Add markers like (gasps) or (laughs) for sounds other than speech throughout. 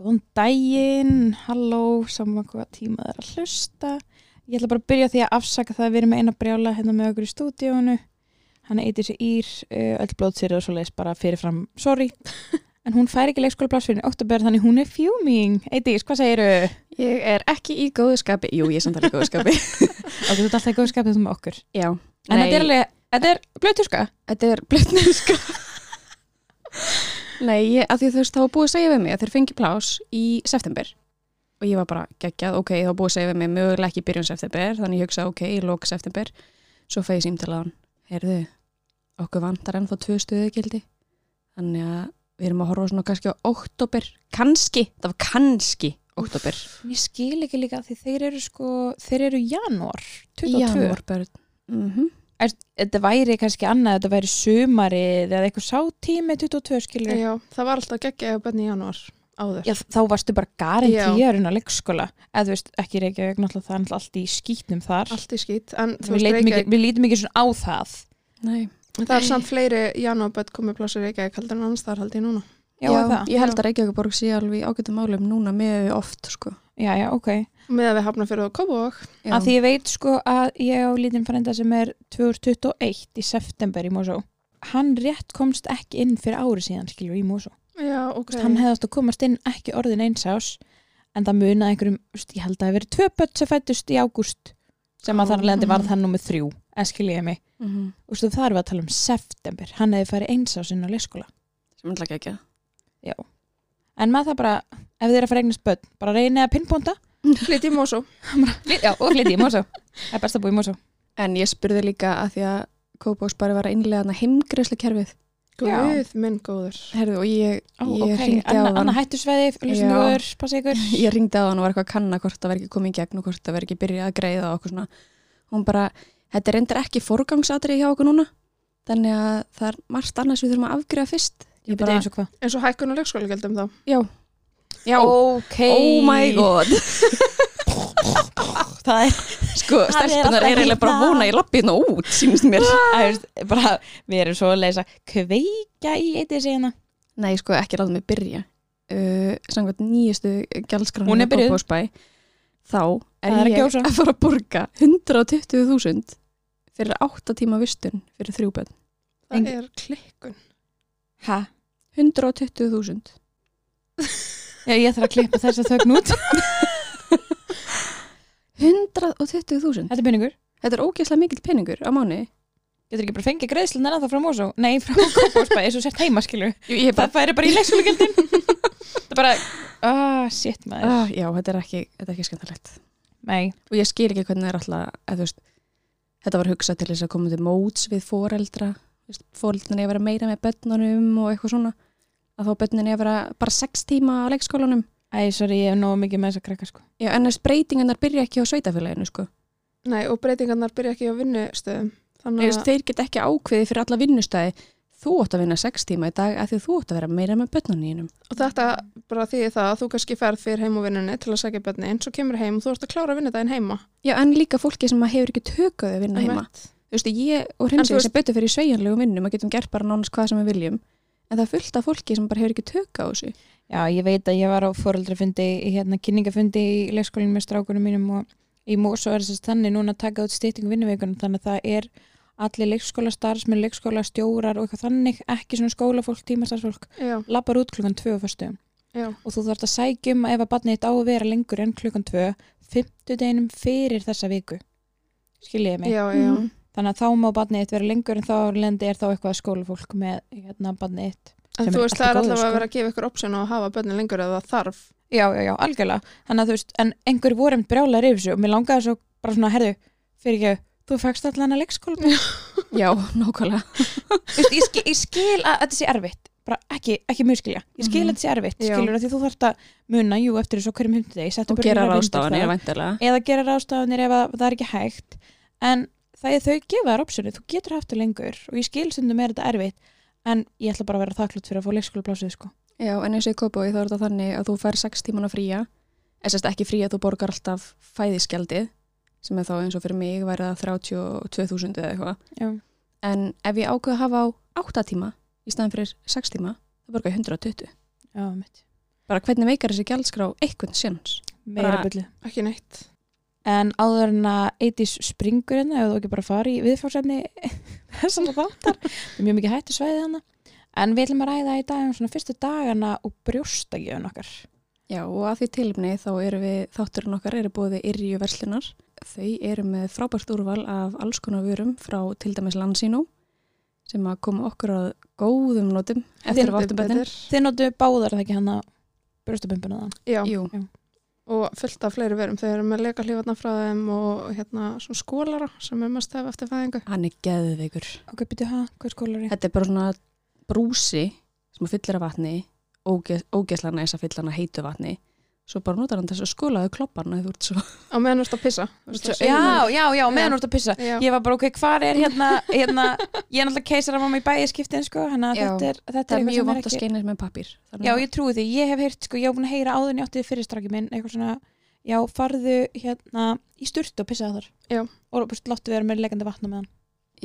Góðan daginn, halló, saman hvað tíma það er að hlusta. Ég ætla bara að byrja á því að afsaka það að við erum með eina brjála hérna með okkur í stúdíónu. Hann eitir sér ír, uh, öll blótsýrið og svo leiðis bara fyrirfram, sorry. (laughs) En hún fær ekki leikskóla fyrir oktober þannig hún er fjúming. Eitís, hvað segiru? Ég er ekki í góðu skapi, jú ég er samt alveg í góðu (laughs) skapi Ok, þú ert alltaf í góðu skapið þú með okkur. Já, En þetta er alveg, þetta er blötuska. þetta er blötnið ska Nei, ég, að því þú veist, þá var búið að segja við mig að þeir fengi plás í september og ég var bara geggjað, ok, þá var búið að segja við mig mögulega ekki í byrjun september, þannig ég hugsa ok, í lok september, svo fæði ég símtalaðan Heyrðu, okkur vantar ennþá tvö stuðið gildi þannig að við erum að horfa svona kannski á oktober, kannski, það var kannski oktober, Ég skil ekki líka því þeir eru sko, þeir eru janúar, 22. janúarbörn mm -hmm. er, þetta væri kannski annað, þetta væri sumarið eða eitthvað sátími 22 skilur Já, það var alltaf geggja eða benni í janúar áður. Já, þá varstu bara garin Já. tíjarun á leikskóla eða þú veist, ekki Reykjavík, náttúrulega það er náttúrulega allt í skítnum þar Allt í skýt, en þú við, veist leitum ekki, Reykjavík, við lítum ekki svona á það Nei það er samt fleiri janúarböld komið plásir Reykjavík heldur en annars þar held ég núna. Já, já. það ég held að Reykjavíkuborg sé alveg í ágættum málum núna með við oft, sko. Já, já, ok Með að við hafna fyrir á Kópavók. Já, Af því ég veit sko að ég á lítinn frænda sem er 2021 í september í Mosó Hann rétt komst ekki inn fyrir ári síðan skilur í Mosó Já, ok. hann hefði átt að komast inn ekki orðin eins ás en það munaði einhverjum, þú veist, ég held að það hafi verið tvö börn sem fættust í ágúst sem að þar leðandi Ah. varð hann nummið þrjú en skilja ég mig, mm -hmm. og svo það er við að tala um september, hann hefði farið eins ás inn á leikskóla sem ætla ekki ekki. en maður það bara, ef þið er að fara eignast börn bara reynið að pinnbónda Flytt í Mosó. já, og flytja í Mosó, það er best að búa í Mosó En ég spurði líka að því að Kópavóks bara var að innlega hana heimgreislu kerfið. Já. Guð minn góður. Herðu, og ég, (laughs) Ó, ég ok, hringdi á Anna, hann. Anna hættusveði, hlustendur, passi ykkur Ég ringdi á hann og var eitthvað að kanna hvort það verði ekki komið í gegn og hvort það verði ekki byrjað að greiða og okkur svona. Hún bara, þetta er reyndar ekki forgangsatrið hjá okkur núna. Þannig að það er margt annars við þurfum að afgriða fyrst. Ég Bíddu, eins og hvað En svo hækkun og leikskóla gildum þá. já, ok, oh my god. (laughs) ah, það er Sko, Það er stelpunar alltaf er eiginlega bara að hérna. vona að ég lappi hérna út, sínst (laughs) mér. Æ, veist, bara, við erum svo að leysa kveika í eitið síðana Nei, sko, ekki láta mig byrja. Uh, Samkvæmt nýjustu gjaldskránu Hún er byrjuð. Þá er, Það er að ég gjósa. að fara að borga 120.000 fyrir 8 tíma vistun fyrir þrjú bönn. Það Engi- er klikkun. hæ? 120.000. Já, ég þarf að klippa þess að þögn út. (laughs) 120.000. Þetta er peningur. Þetta er ógeðslega mikill peningur á mánu. Getur ekki bara fengið greiðslunar að það frá Mosó? Nei, frá Kópásbæði, svo sért heima, skilur. Jú, ég Það færi bara í (laughs) leikskólagjöldin. það er bara, ah, shit maður. Ah, já, þetta er ekki, þetta er ekki skemmtilegt. Nei, og ég skil ekki hvernig það er alltaf að, þú veist, þetta var hugsað til þess að koma til móts við foreldra foreldrinni að vera meira með börnunum og eitthvað svona að þá börninni að vera bara sex tíma á leikskólanum æ, sorry, ég hef nógu mikið með þess að krakka, sko. já, en þess breytingarnar byrja ekki á sveitafélaginu sko. Nei, og breytingarnar byrja ekki á vinnustöðum. Þú Þannig veist, þeir get ekki ákveði fyrir alla vinnustæði þú ótt að vinna sex tíma í dag að því þú ótt að vera meira með börnunum að og þetta bara því það að þú kannski ferð fyrir heim og vinnunni til að segja benni eins og kemur heim og þú ert að klára að vinna daginn heima. já, en líka fólki sem að hefur ekki tökað að vinna heima Einmitt. þú veist, ég og En þú hreins ég veist- sem betur fyrir sveigjanlegum vinnum að getum gert bara nánast hvað sem við viljum en það er fullt af fólki sem bara hefur ekki tökað á þessu Já, ég veit að ég var á foreldrafundi, í, hérna, kynningafundi í leikskólinn með strákunum mínum og í Mosó er þess að þannig núna að taka út stýttingu vinnuvikunum, þannig að það er allir leikskólastarfsmenn, leikskólastjórar og eitthvað þannig, ekki svona skólafólk, tímastarfsfólk, Já, lappar út klukkan 2 á föstudum. já. og þú þarfst að sækjum ef að barnið þitt á að vera lengur en klukkan 2 50 fyrir þessa viku skiljiði mig Já, já. Mhm. þannig að þá má barnið þitt vera lengur en þá lendi er þá eitthvað skólafólk með hérna barnið þitt En sem þú er veist, það er allt í góðu, allavega sko. að vera að gefa ykkur option og hafa bönni lengur eða það þarf. já, já, já, algjörlega þannig að þú veist, en einhver vorum brjálar yfir þessu og mér langaði svo bara svona, herðu, fyrir ekki þú fækst allan að leikskóla Þú Já, nákvæmlega. veist, ég, skil, ég skil að þetta sé erfitt bara ekki, ekki mjög skilja, ég skil Mhm. að þetta sé erfitt Já. skilur að því þú þarft að muna, jú, eftir þessu á hverjum hundið Og gera ráðstafanir, væntalega. eða gera ráðstafanir ef að það er ekki hægt en það er þau gefa þær opsjónu þú getur haft það lengur og ég skil stundum er þetta erfitt en ég ætla bara að vera þakklátt fyrir að fá leikskólaplásið sko. Já, en eins og í Kópói þá er þetta þannig að þú fær sex tímana fría, eða sérst ekki fría, þú borgar alltaf fæðiskjaldið, sem er þá eins og fyrir mig væri það 32.000 eða eitthvað. Já. En ef ég ákveð að hafa á 8 tíma í staðan fyrir 6 tíma, þá borgar ég 120. Já, mitt. bara hvernig meikar þessi gjaldskrá einhvern sinns meira Bara- byrju. ekki neitt. En áður en að Eidís springur hérna, ef þú ekki bara fari í (laughs) viðfársefni þessana þáttar, það er mjög mikið hættu svæðið hana. En við ætlum að ræða í dag um svona fyrstu dagana og brjóstagjöfun okkar. Já, og að því tilumni þá eru við, þátturinn okkar eru búið yrju verslunar. Þau eru með frábært úrval af alls konar vörum frá til dæmis Lansino sem að koma okkur að góðum notum eftir að Heldur vartum betur. betur. Þið notu báðar er það ekki hérna, hann að brjóstabumbuna þann. Já, Jú, og fullt af fleiri verum. Þau eru með lekalífarnar frá þeim og hérna svona skólara sem er með stef eftir fæðingu. hann er geðveikur. Ok, byrju hæ, hvað skólar ég? Þetta er bara svona brúsi sem að fyllir af vatni, óge- ógeðslega næs að fylla hann að heitu vatni. Svo bara notar hann þess að skólaðu kloppan að þú ert svo. Á meðan þú ert að pissa. Þú ert svo Já, já, já, meðan Já. úr þetta pissa. Já. Ég var bara, ok, hvar er hérna, hérna, ég er náttúrulega keisaramáma í bæjaskiptin, sko, hann að Já. þetta er, þetta er Það er eitthvað mjög sem er vant að ekki. skeinir með pappir. Já, ég trúi því, ég hef heyrt, sko, ég hef búin að heyra áður en ég átti fyrirstrakki minn, eitthvað svona, já, farðu hérna í sturt og pissa þar. Já. Og bara láttu vera með leikandi vatna með hann.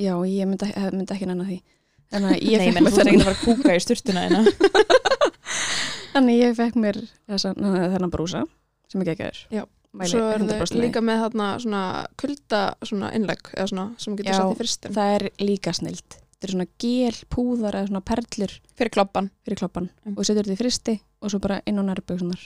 Já, ég myndi, myndi ekki nanna því. Þannig að ég Nei, fekk menn, mér þú ert þennan- ekki að fara að kúka í sturtuna (laughs) hérna. Þannig ég fekk mér þessa, þennan brúsa sem ekki ekki er. Já. Mæli Svo eru þau 100% með líka með þarna svona kulda svona innlegg eða svona sem getur Já. sett í því. fristin. Það er líka snilt. Þetta er svona gel, púðar eða svona perlur Fyrir kloppan. fyrir kloppan Mm. og setur þetta í fristi og svo bara inn á nærbjöksunar.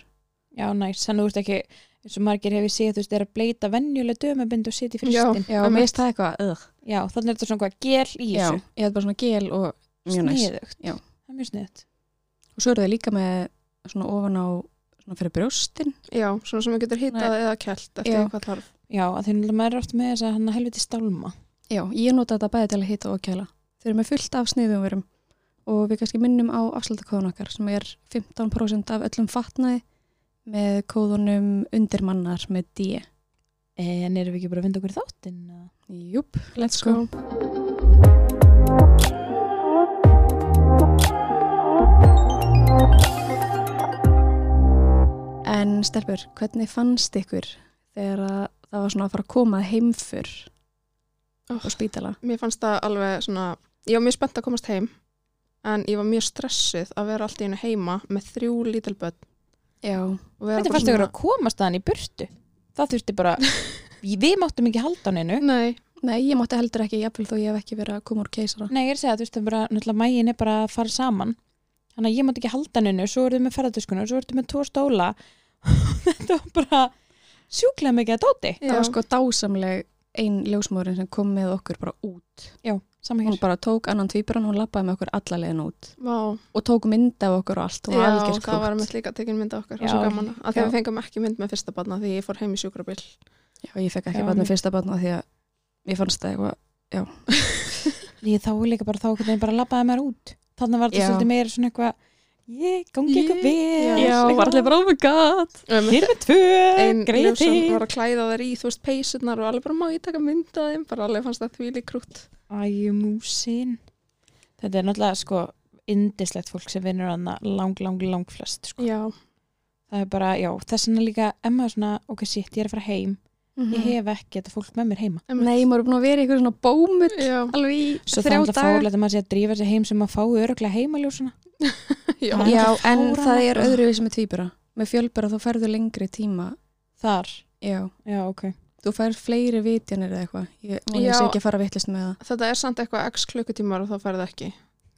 Já, næst, þannig þú ert ekki, eins og margir hefur séð, þú veist, er að bleita venjuleg dömabind og setja í Já. fristin. Já, Einmitt. mér veist það eitthvað, öð. Já, þannig er þetta svona hvað gel í Já, þessu. ég hefði bara svona gel og mjög næst. Sniðugt. Já. Það er mjög sniðugt. Og svo eru þau líka með svona ofan á svona fyrir brjóstin. Já, svona sem getur hittað eða kælt eftir Já. hvað þarf. Já, að því náttúrulega maður er oft með þess að hann helviti stálma. Já, ég nota þetta bæði til að hita og kæla. Þau eru með fullt af sniðum verum og við kannski minnum á afslutakóðun okkar sem er 15% af öllum fatnaði með kóðunum undirmannar með D. Eh, En erum við ekki bara að vinda okkur í þáttinn? eða? Júp, let's go. En Stelbur, hvernig fannst ykkur þegar að það var svona að fara að koma heimfur Oh. á spítala? Mér fannst það alveg svona, ég var mjög spennt að komast heim en ég var mjög stressuð að vera allt í hennu heima með þrjú lítil börn. Já. og vera Hvernig bara fannst ykkur svona- að komast þaðan í burtu? Það þurfti bara, (laughs) við máttum ekki halda á neinu. Nei, Nei, ég mátti heldur ekki, jafnvel þó ég hef ekki verið að koma úr keisara. Nei, ég er að segja, þú veist, það er bara, náttúrulega mægin er bara að fara saman. Þannig að ég mátt ekki halda á neinu, svo eruðu með ferðartöskunar, svo eruðu með tvo stóla. (laughs) Þetta var bara sjúklega mikið að dóti. já, Það var sko dásamleg ein ljósmóðurinn sem kom með okkur bara út. Saman Hún hér. bara tók annan tvíbrann, hún lappaði með okkur alla leiðin út vá. og tók mynd af okkur og allt og Já, algjör það var krútt. með líka tekin mynd af okkar, það var Já. svo gaman að því Já. við fengum ekki mynd með fyrsta barna því ég fór heim í sjúkrabil. Já, ég fekk Já, ekki barn mér- með fyrsta barn af því að ég fannst það eitthvað. Ég þá líka bara þá, hvernig bara labbaði maður út. Þannig var Já. þetta svolítið meira svona eitthvað, ég gangi ykkur Ég- vel. Já, Já, var allir bara, oh my god. Um, Hér er með tvö, Einn greið ljósan þig. var að klæða þær í, þú veist, peysurnar og alveg bara má ég taka mynd af þeim, bara alveg fannst það því lík krútt. Æ, músin. Þetta er náttúrulega sko indislegt fólk sem vinnur hana lang, lang, lang flest. Sko. Já, Það er bara, já, þess vegna líka, emma er svona, ok, shit, ég er að fara heim. Ég Mhm. hef ekki þetta fólk með mér heima. Mhm. Nei, maður er búin að vera í eitthvað svona bómull já, (laughs) alveg í Svo það er þrjá alltaf daga. fórlega að maður sé að drífa sig heim sem að fá öruglega heimaljósuna. já. Það er Já, alveg en fáránlegt. það er öðruvísi með tvíbura. Með fjölbura þá færðu lengri tíma. Þar, Já, já, ok. þú fær fleiri vitjanir eða eitthvað. Ég vona ég Já. sé ekki að fara vittlist með það. Þetta er samt eitthvað x klukkutímar og þá færði ekki.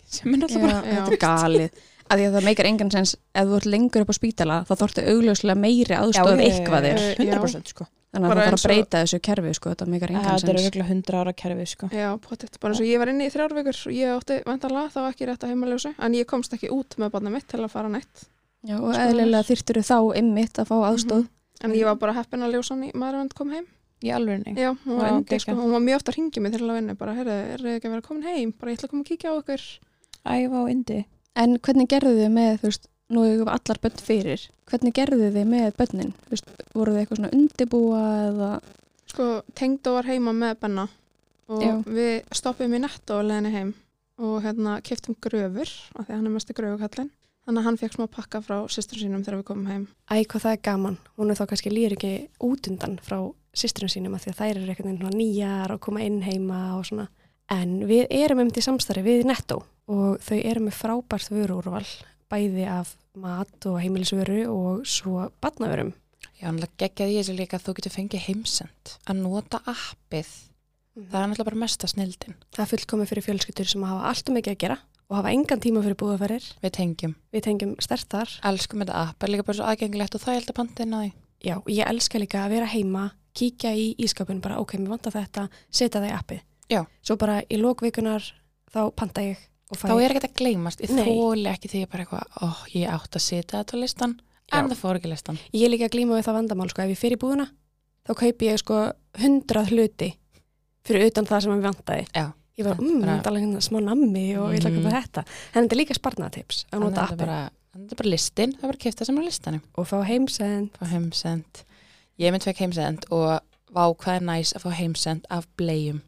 Sem er Já, náttúrulega bara, þetta er galið. Af því að það meikar engan sens, ef þú ert lengur upp á spítala, þá þortu augljóslega meiri aðstof já, ef eitthvað já, já, er. 100% sko. Þannig að Bara það þarf eins að og- breyta þessu kerfi, sko, þetta meikar Að engan Þetta er sens. öruglega 100 ára kerfið sko. Já, potið, bara eins og ég var inni í þrjár vikur og ég átti vantanlega þá ekki rétt að heimaljósi, en ég komst ekki út með barnið mitt til að fara neitt. Já, og sko. Skoðar. eðlilega þyrtur þá ymmit Mhm. að fá aðstof. Mhm. En ég var bara heppin að ljósan í maðurvend kom heim. Í alveg nei. Já, hún var Já, indi, sko, geggjað. hún var mjög oft að ringi mig til að vinna, bara, heyrðu, er þið ekki að vera komin heim, bara ég ætla að koma að kíkja á ykkur. Æ, vá, indi. En hvernig gerðu þið með, þú veist, nú hefur allar bönn fyrir, hvernig gerðu þið með bönnin? Þú veist, voru þið eitthvað svona undibúa eða, Sko, tengdó var heima með Benna og Já. við stoppum í netto og leðinni heim og hérna keftum gröfur, af því að hann er mest í gröfukallin. Þannig að hann fekk smá pakka frá sýstur sínum þegar við komum heim. Æ, hvað það er gaman. Hún er þá kannski líður ekki út undan frá sýsturum sínum að því að þær eru einhvern veginn svona nýjar og koma inn heima og svona. En við erum um til samstarfi við Netto og þau eru með frábært vöruúrval, bæði af mat og heimilisveru og svo batnavörum. Já, náttúrulega geggjaði ég þessu líka að þú getur fengið heimsend að nota appið. Það er náttúrulega bara mesta snildin. Það er fullkomið fyrir fjölskyldur sem hafa allt og mikið að gera og hafa engan tíma fyrir búðaferir. Við tengjum. Við tengjum stert þar. Elskum þetta app, er líka bara svo aðgengilegt og það held að pandina því. Já, ég elska líka að vera heima, kíkja í ískapun, bara ok, mér vantar þetta, setja það í appið. Já. Svo bara í lokvikunar þá panta ég og fæ. Þá er ekkert að gleymast. Ég Nei. þóli ekki því ég bara eitthvað, ó, ég átt að setja þetta á listan, Já. en það fór ekki á listan. Ég er líka að glíma við það vandamál, sko, ef ég fer í búðuna, þá kaupi ég sko hundrað hluti fyrir utan það sem ég vantaði. Já. Ég var, Þetta mmm, bara- þetta er alveg hérna smá nammi og ég ætla að kaupa Mm. þetta. En þetta er líka sparnatips að Þannig að nota þetta er appið bara, þetta er bara listin, það er bara að kipta sem er á listanum. og fá heimsend. Fá heimsend. Ég mynd fekk heimsend og vá hvað er næs að fá heimsend af bleium.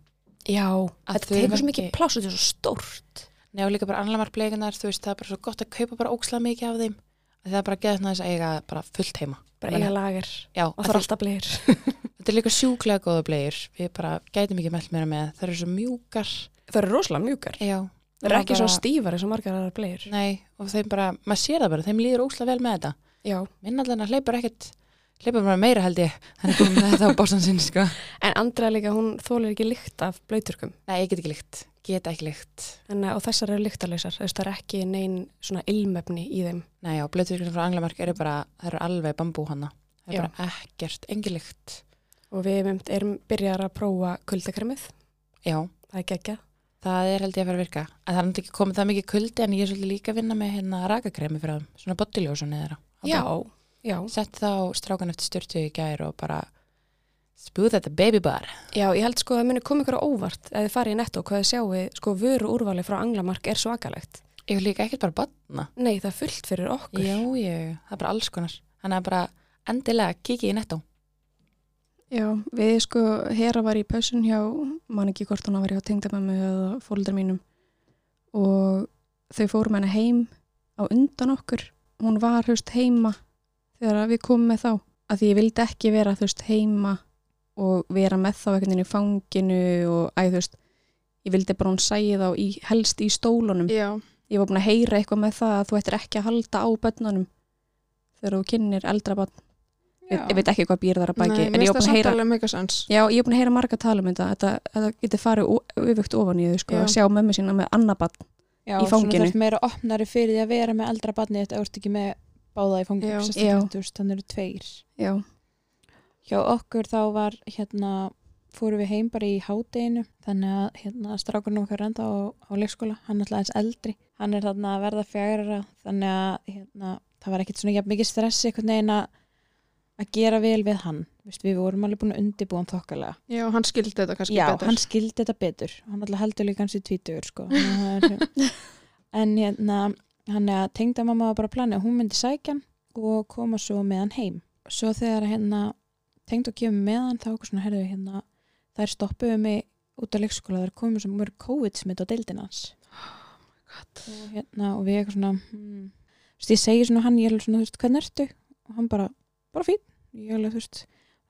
Já, Að þetta þau tekur verði- svo mikið pláss og þetta er svo stórt. Nei og líka bara anlamar bleikunar, þú veist, það er bara svo gott að kaupa bara ókslega mikið af þeim. Af því Það er bara að geða þess að eiga bara fullt heima. Bara eiga lager Já, og af það er því- alltaf bleir. (laughs) þetta er líka sjúklega góða bleir. Við bara gætum ekki mell meira með. Það eru svo mjúkar. það eru rosalega mjúkar. Já. Það eru ekki bara, svona stífar eins og margar aðrar bleir. Nei, og þeim bara, maður sér það bara, þeim líður ókslega vel með þetta. Já, Minn allan að hleypur ekkert, hleypur bara meira held ég. Þannig komum með þetta á bossan sinn, sko. en Andra líka, hún þólir ekki lykt af blöyturkum. Nei, ég (laughs) get ekki lykt. Get ekki lykt. En, eh, og þessar eru lyktarlausar, þú veist, það er ekki neinn svona ilmefni í þeim. Nei, já, blötuvirkirinn frá Anglamark eru bara, það eru alveg bambú hana. Það Já. er bara ekkert, engin lykt. Og við einmitt erum byrjar að prófa kuldakremið, Já. það er geggjað. Það er held ég að fara að virka. En það er náttúrulega ekki komið það mikið kuldi en ég er svolítið líka að vinna með hérna rakakremi fyrir það, svona bottiljósunni þeirra. já. Sett þá strákan eftir styrtu í gær og bara spúð þetta baby bar. Já, ég held sko að það muni koma ykkur á óvart ef þið farið í netto, hvað þið sjáu, sko vöru úrvali frá Anglamark er svakalegt. Ég er líka ekkert bara botna. Nei, það er fullt fyrir okkur. Já, ég, það er bara alls konar. Þannig að bara endilega kikið í nettó. Já, við sko, Hera var í pausun hjá, man ekki hvort hún var hjá tengdamömmu eða fólundar mínum og þau fórum henni heim á undan okkur. Hún var höfst heima þegar við komum með þá. Að því ég vildi ekki vera höfst heima og vera með þá einhvern veginn í fanginu og æ, þú veist, ég vildi bara að hún sæði þá í, helst í stólunum. Já, Ég var búin að heyra eitthvað með það að þú ættir ekki að halda á bönnunum þegar þú kynir eldra bönn. Ég, ég veit ekki hvað býr þar að bæki, nei, en ég mér var búin að heyra alveg megasens. Já, ég er búin að heyra marga tala um þetta þetta, þetta getur farið ó- öfugt ofan í þau sko, Já. að sjá mömmu sína með annabann Já, Í fanginu. Svona þarf meira opnari fyrir því að vera með eldra barnið þetta ert ekki með báða í fanginu. Já. sérstaklega, Já. þú veist, Þannig eru tveir. Já, Hjá okkur þá var hérna, fórum við heim bara í hádeginu þannig að hérna, strákunum okkar er enda á, á leikskóla, hann er alltaf eins eldri hann er þarna að verða fjagrara þannig að hérna, það var ekkit svona jafn mikið stressi einhvern veginn að að gera vel við hann, Vist, við vorum alveg búin að undirbúa hann þokkalega. Já, hann skildi þetta kannski Já, betur. hann skildi þetta betur hann alltaf heldur líka hans í tvítugur sko. Þannig að (laughs) það er- en hérna hann er að tengda mamma var bara að plana að hún myndi sækja hann og koma svo með hann heim svo þegar hérna tengd og kemur með hann þá okkur svona herðu hérna þær stoppuðu mig út af leikskóla þær komum svo mörg COVID-smitt á deildin (gasps) hans Oh og hérna og við eitthvað svona hmm. Þú veist, ég segi svona hann, ég er alveg svona, þú veist, hvernig ertu? og hann bara, bara fín ég er alveg, þú veist,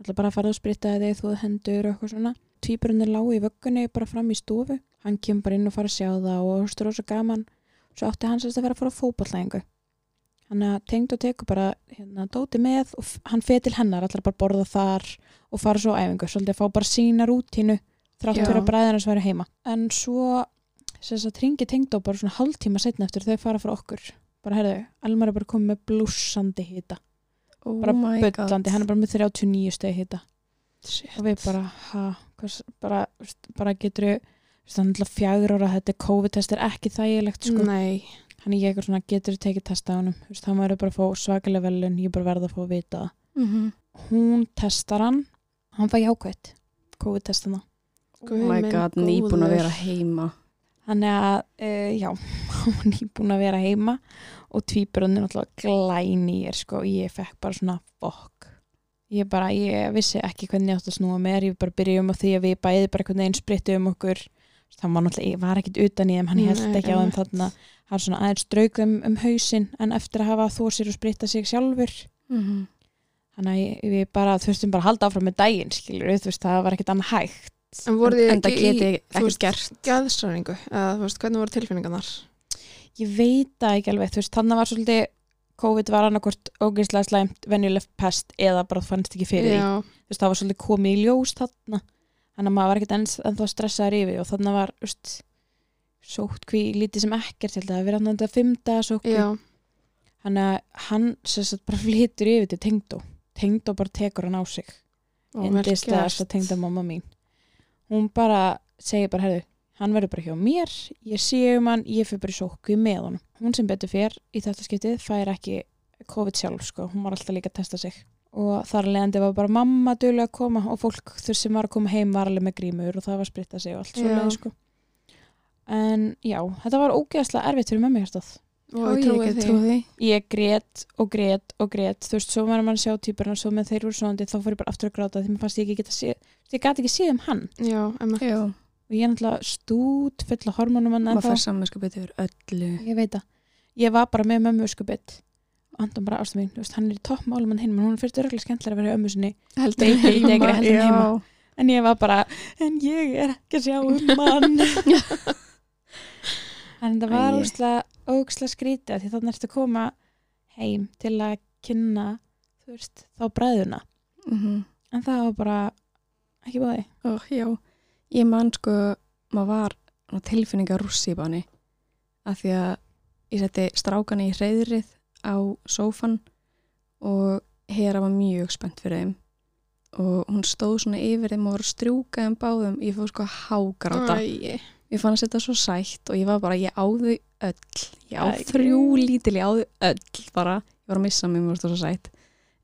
alltaf bara að fara að spritta þig þú hendur og eitthvað svona tvíburinn er lágu í vöggunni bara fram í stofu hann kemur bara inn og fara að sjá það og hostur og svo gaman svo átti hann sérst að vera að fara á fótballæðingu hann að tengd og teku bara hérna, dóti með og f- hann fer til hennar allar bara borða þar og fara svo á æfingu svolítið að fá bara sína rútínu þrátt Já. fyrir að bræðina sem vera heima en svo sérst að ringi tengd og bara svona hálftíma setna eftir þau fara frá okkur bara herðu, Almar er bara komið með blúsandi hita oh bara my god. bullandi, hann er bara með 39 stegi hita Shit. og við bara, ha, hvers, bara, veist, bara getur þannig að fjagur ára þetta COVID-test er ekki þægilegt sko. Nei, hann er ekki eitthvað svona, getur tekið testa á hann hann verður bara að fá svakalega velun ég bara verða að fá að vita það. Mhm. hún testar hann, hann fæ jákvætt COVID-testana guð Oh my sko, minn god, nýbúin að góður. vera heima þannig að, uh, já (laughs) hann var nýbúin að vera heima og tvíbrunni náttúrulega glæni ég sko, ég fekk bara svona fokk ég bara, ég vissi ekki hvernig ég átt að snúa mér, ég bara byrja um á því að við bæði bara einhvern veginn sprittu um okkur það var náttúrulega, ég var ekkit utan í þeim hann Nei, held ekki á þeim einmitt. þarna hann svona aðeins draug þeim um hausinn en eftir að hafa þó sér og spritta sig sjálfur Mhm. þannig að ég- við bara þurftum bara að halda áfram með daginn skilur við, þú veist, það var ekkit annað hægt En voru þið En það ekki geti í ekki veist, gert gæðsræningu? Eða, þú veist, hvernig voru tilfinningarnar? ég veit það ekki alveg, þú veist, þannig var svolítið COVID var annarkvort ógeðslega slæmt venjulegt pest eða bara fannst ekki fyrir því Já, þú veist, það var svolítið komið í ljós þarna þannig að maður var ekkert ennþá ennþá stressaður yfir og þannig var, þú veist sótt hví lítið sem ekkert held að það við erum þetta fymta sótt já, þannig að hann sem sagt bara flytur yfir til tengdó tengdó bara tekur hann á sig og endist að sko, það tengda mamma mín hún bara segir bara, herðu hann verður bara hjá mér, ég sé um hann ég fyrir bara í sókvi með honum hún sem betur fyrir í þetta skiptið fær ekki COVID sjálf sko, hún var alltaf líka að testa sig og þar leðandi var bara mamma duðlega að koma og fólk þurr sem var að koma heim var alveg með grímur og það var að spritta sig og allt svo Já. sko en já, þetta var ógeðslega erfitt fyrir mömmu hérstáð Og ég trúi því. því. ég grét og grét og grét þú veist, svo var mann að sjá týpurinn og svo með þeir voru svona þá fór ég bara aftur að gráta því mér fannst ég ekki geta sé, ég gat ekki séð um hann Já, emma. Já, og ég er náttúrulega stút full af hormónum hann maður ennþá fær samvinskupið yfir öllu. ég veit það, ég var bara með mömmu skubitt og andan bara ástum mín, þú veist, hann er í toppmálum hann hinn, menn hún er fyrir dörglega skemmtilega að vera í ömmu sinni Heldur Baby heima. degri, heldur já. heima. en ég var bara, en ég er ekki að sjá um mann en það var Æi. ógislega ógislega skrítið af því þannig ertu að koma heim til að kynna þú veist, þá bræðuna Mhm. en það var bara ekki bóði Oh, já, ég man sko, maður var á tilfinninga rússi í banni að því að ég setti strákana í hreyðrið á sófan og Hera var mjög spennt fyrir þeim og hún stóð svona yfir þeim og var að strjúka þeim báðum ég fór sko að hágráta Æi. ég fann að setja svo sætt og ég var bara, ég áðu öll ég á Æ. þrjú lítil, ég áðu öll bara, ég var að missa mig, mér var þetta svo sætt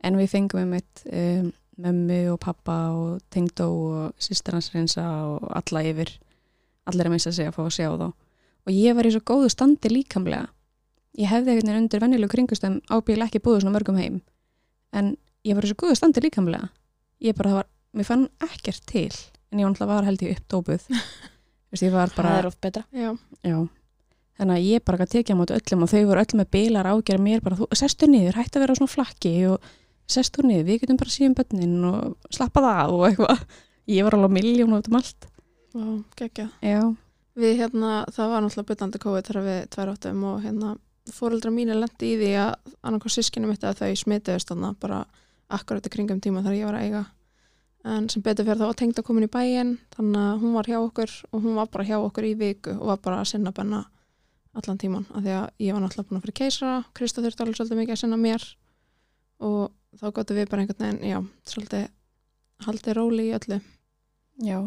en við fengum um eitt um, mömmu og pappa og tengdó og sýstir hans reynsa og alla yfir, allir að missa sig að fá að sjá þá og ég var í svo góðu standi líkamlega ég hefði einhvern veginn undir venjulegu kringustöðum ábyggilega ekki búið svona mörgum heim en ég var í svo góðu standi líkamlega ég bara, það var, mér fann ekkert til en ég var náttúrulega var held (laughs) ég uppdópuð Þú veist, ég var bara það er oft betra Já, Já. Þannig að ég bara gæti tekið á móti öllum og þau voru öll með bilar ágjör mér bara, þú, sestu niður, hættu að vera á svona flakki og sestu niður, við getum bara síðan bönnin og slappa það og eitthvað. Ég var alveg miljón út um allt. Vá, geggjað. Já. Við hérna, það var náttúrulega byllandi COVID þegar við tvær áttum og hérna fóreldra mínu lendi í því að annarkoð sískinu mitt að þau smitiðust þarna bara akkurat í kringum tíma þegar ég var að eiga en sem betur fyrir þá var tengd að komin í bæinn þannig að hún var hjá okkur og hún var bara hjá okkur í viku og var bara að sinna benna allan tíman af því að ég var náttúrulega búin að fyrir keisara Krista þurfti alveg svolítið mikið að sinna mér og þá gotum við bara einhvern veginn já, svolítið haldið róli í öllu Já.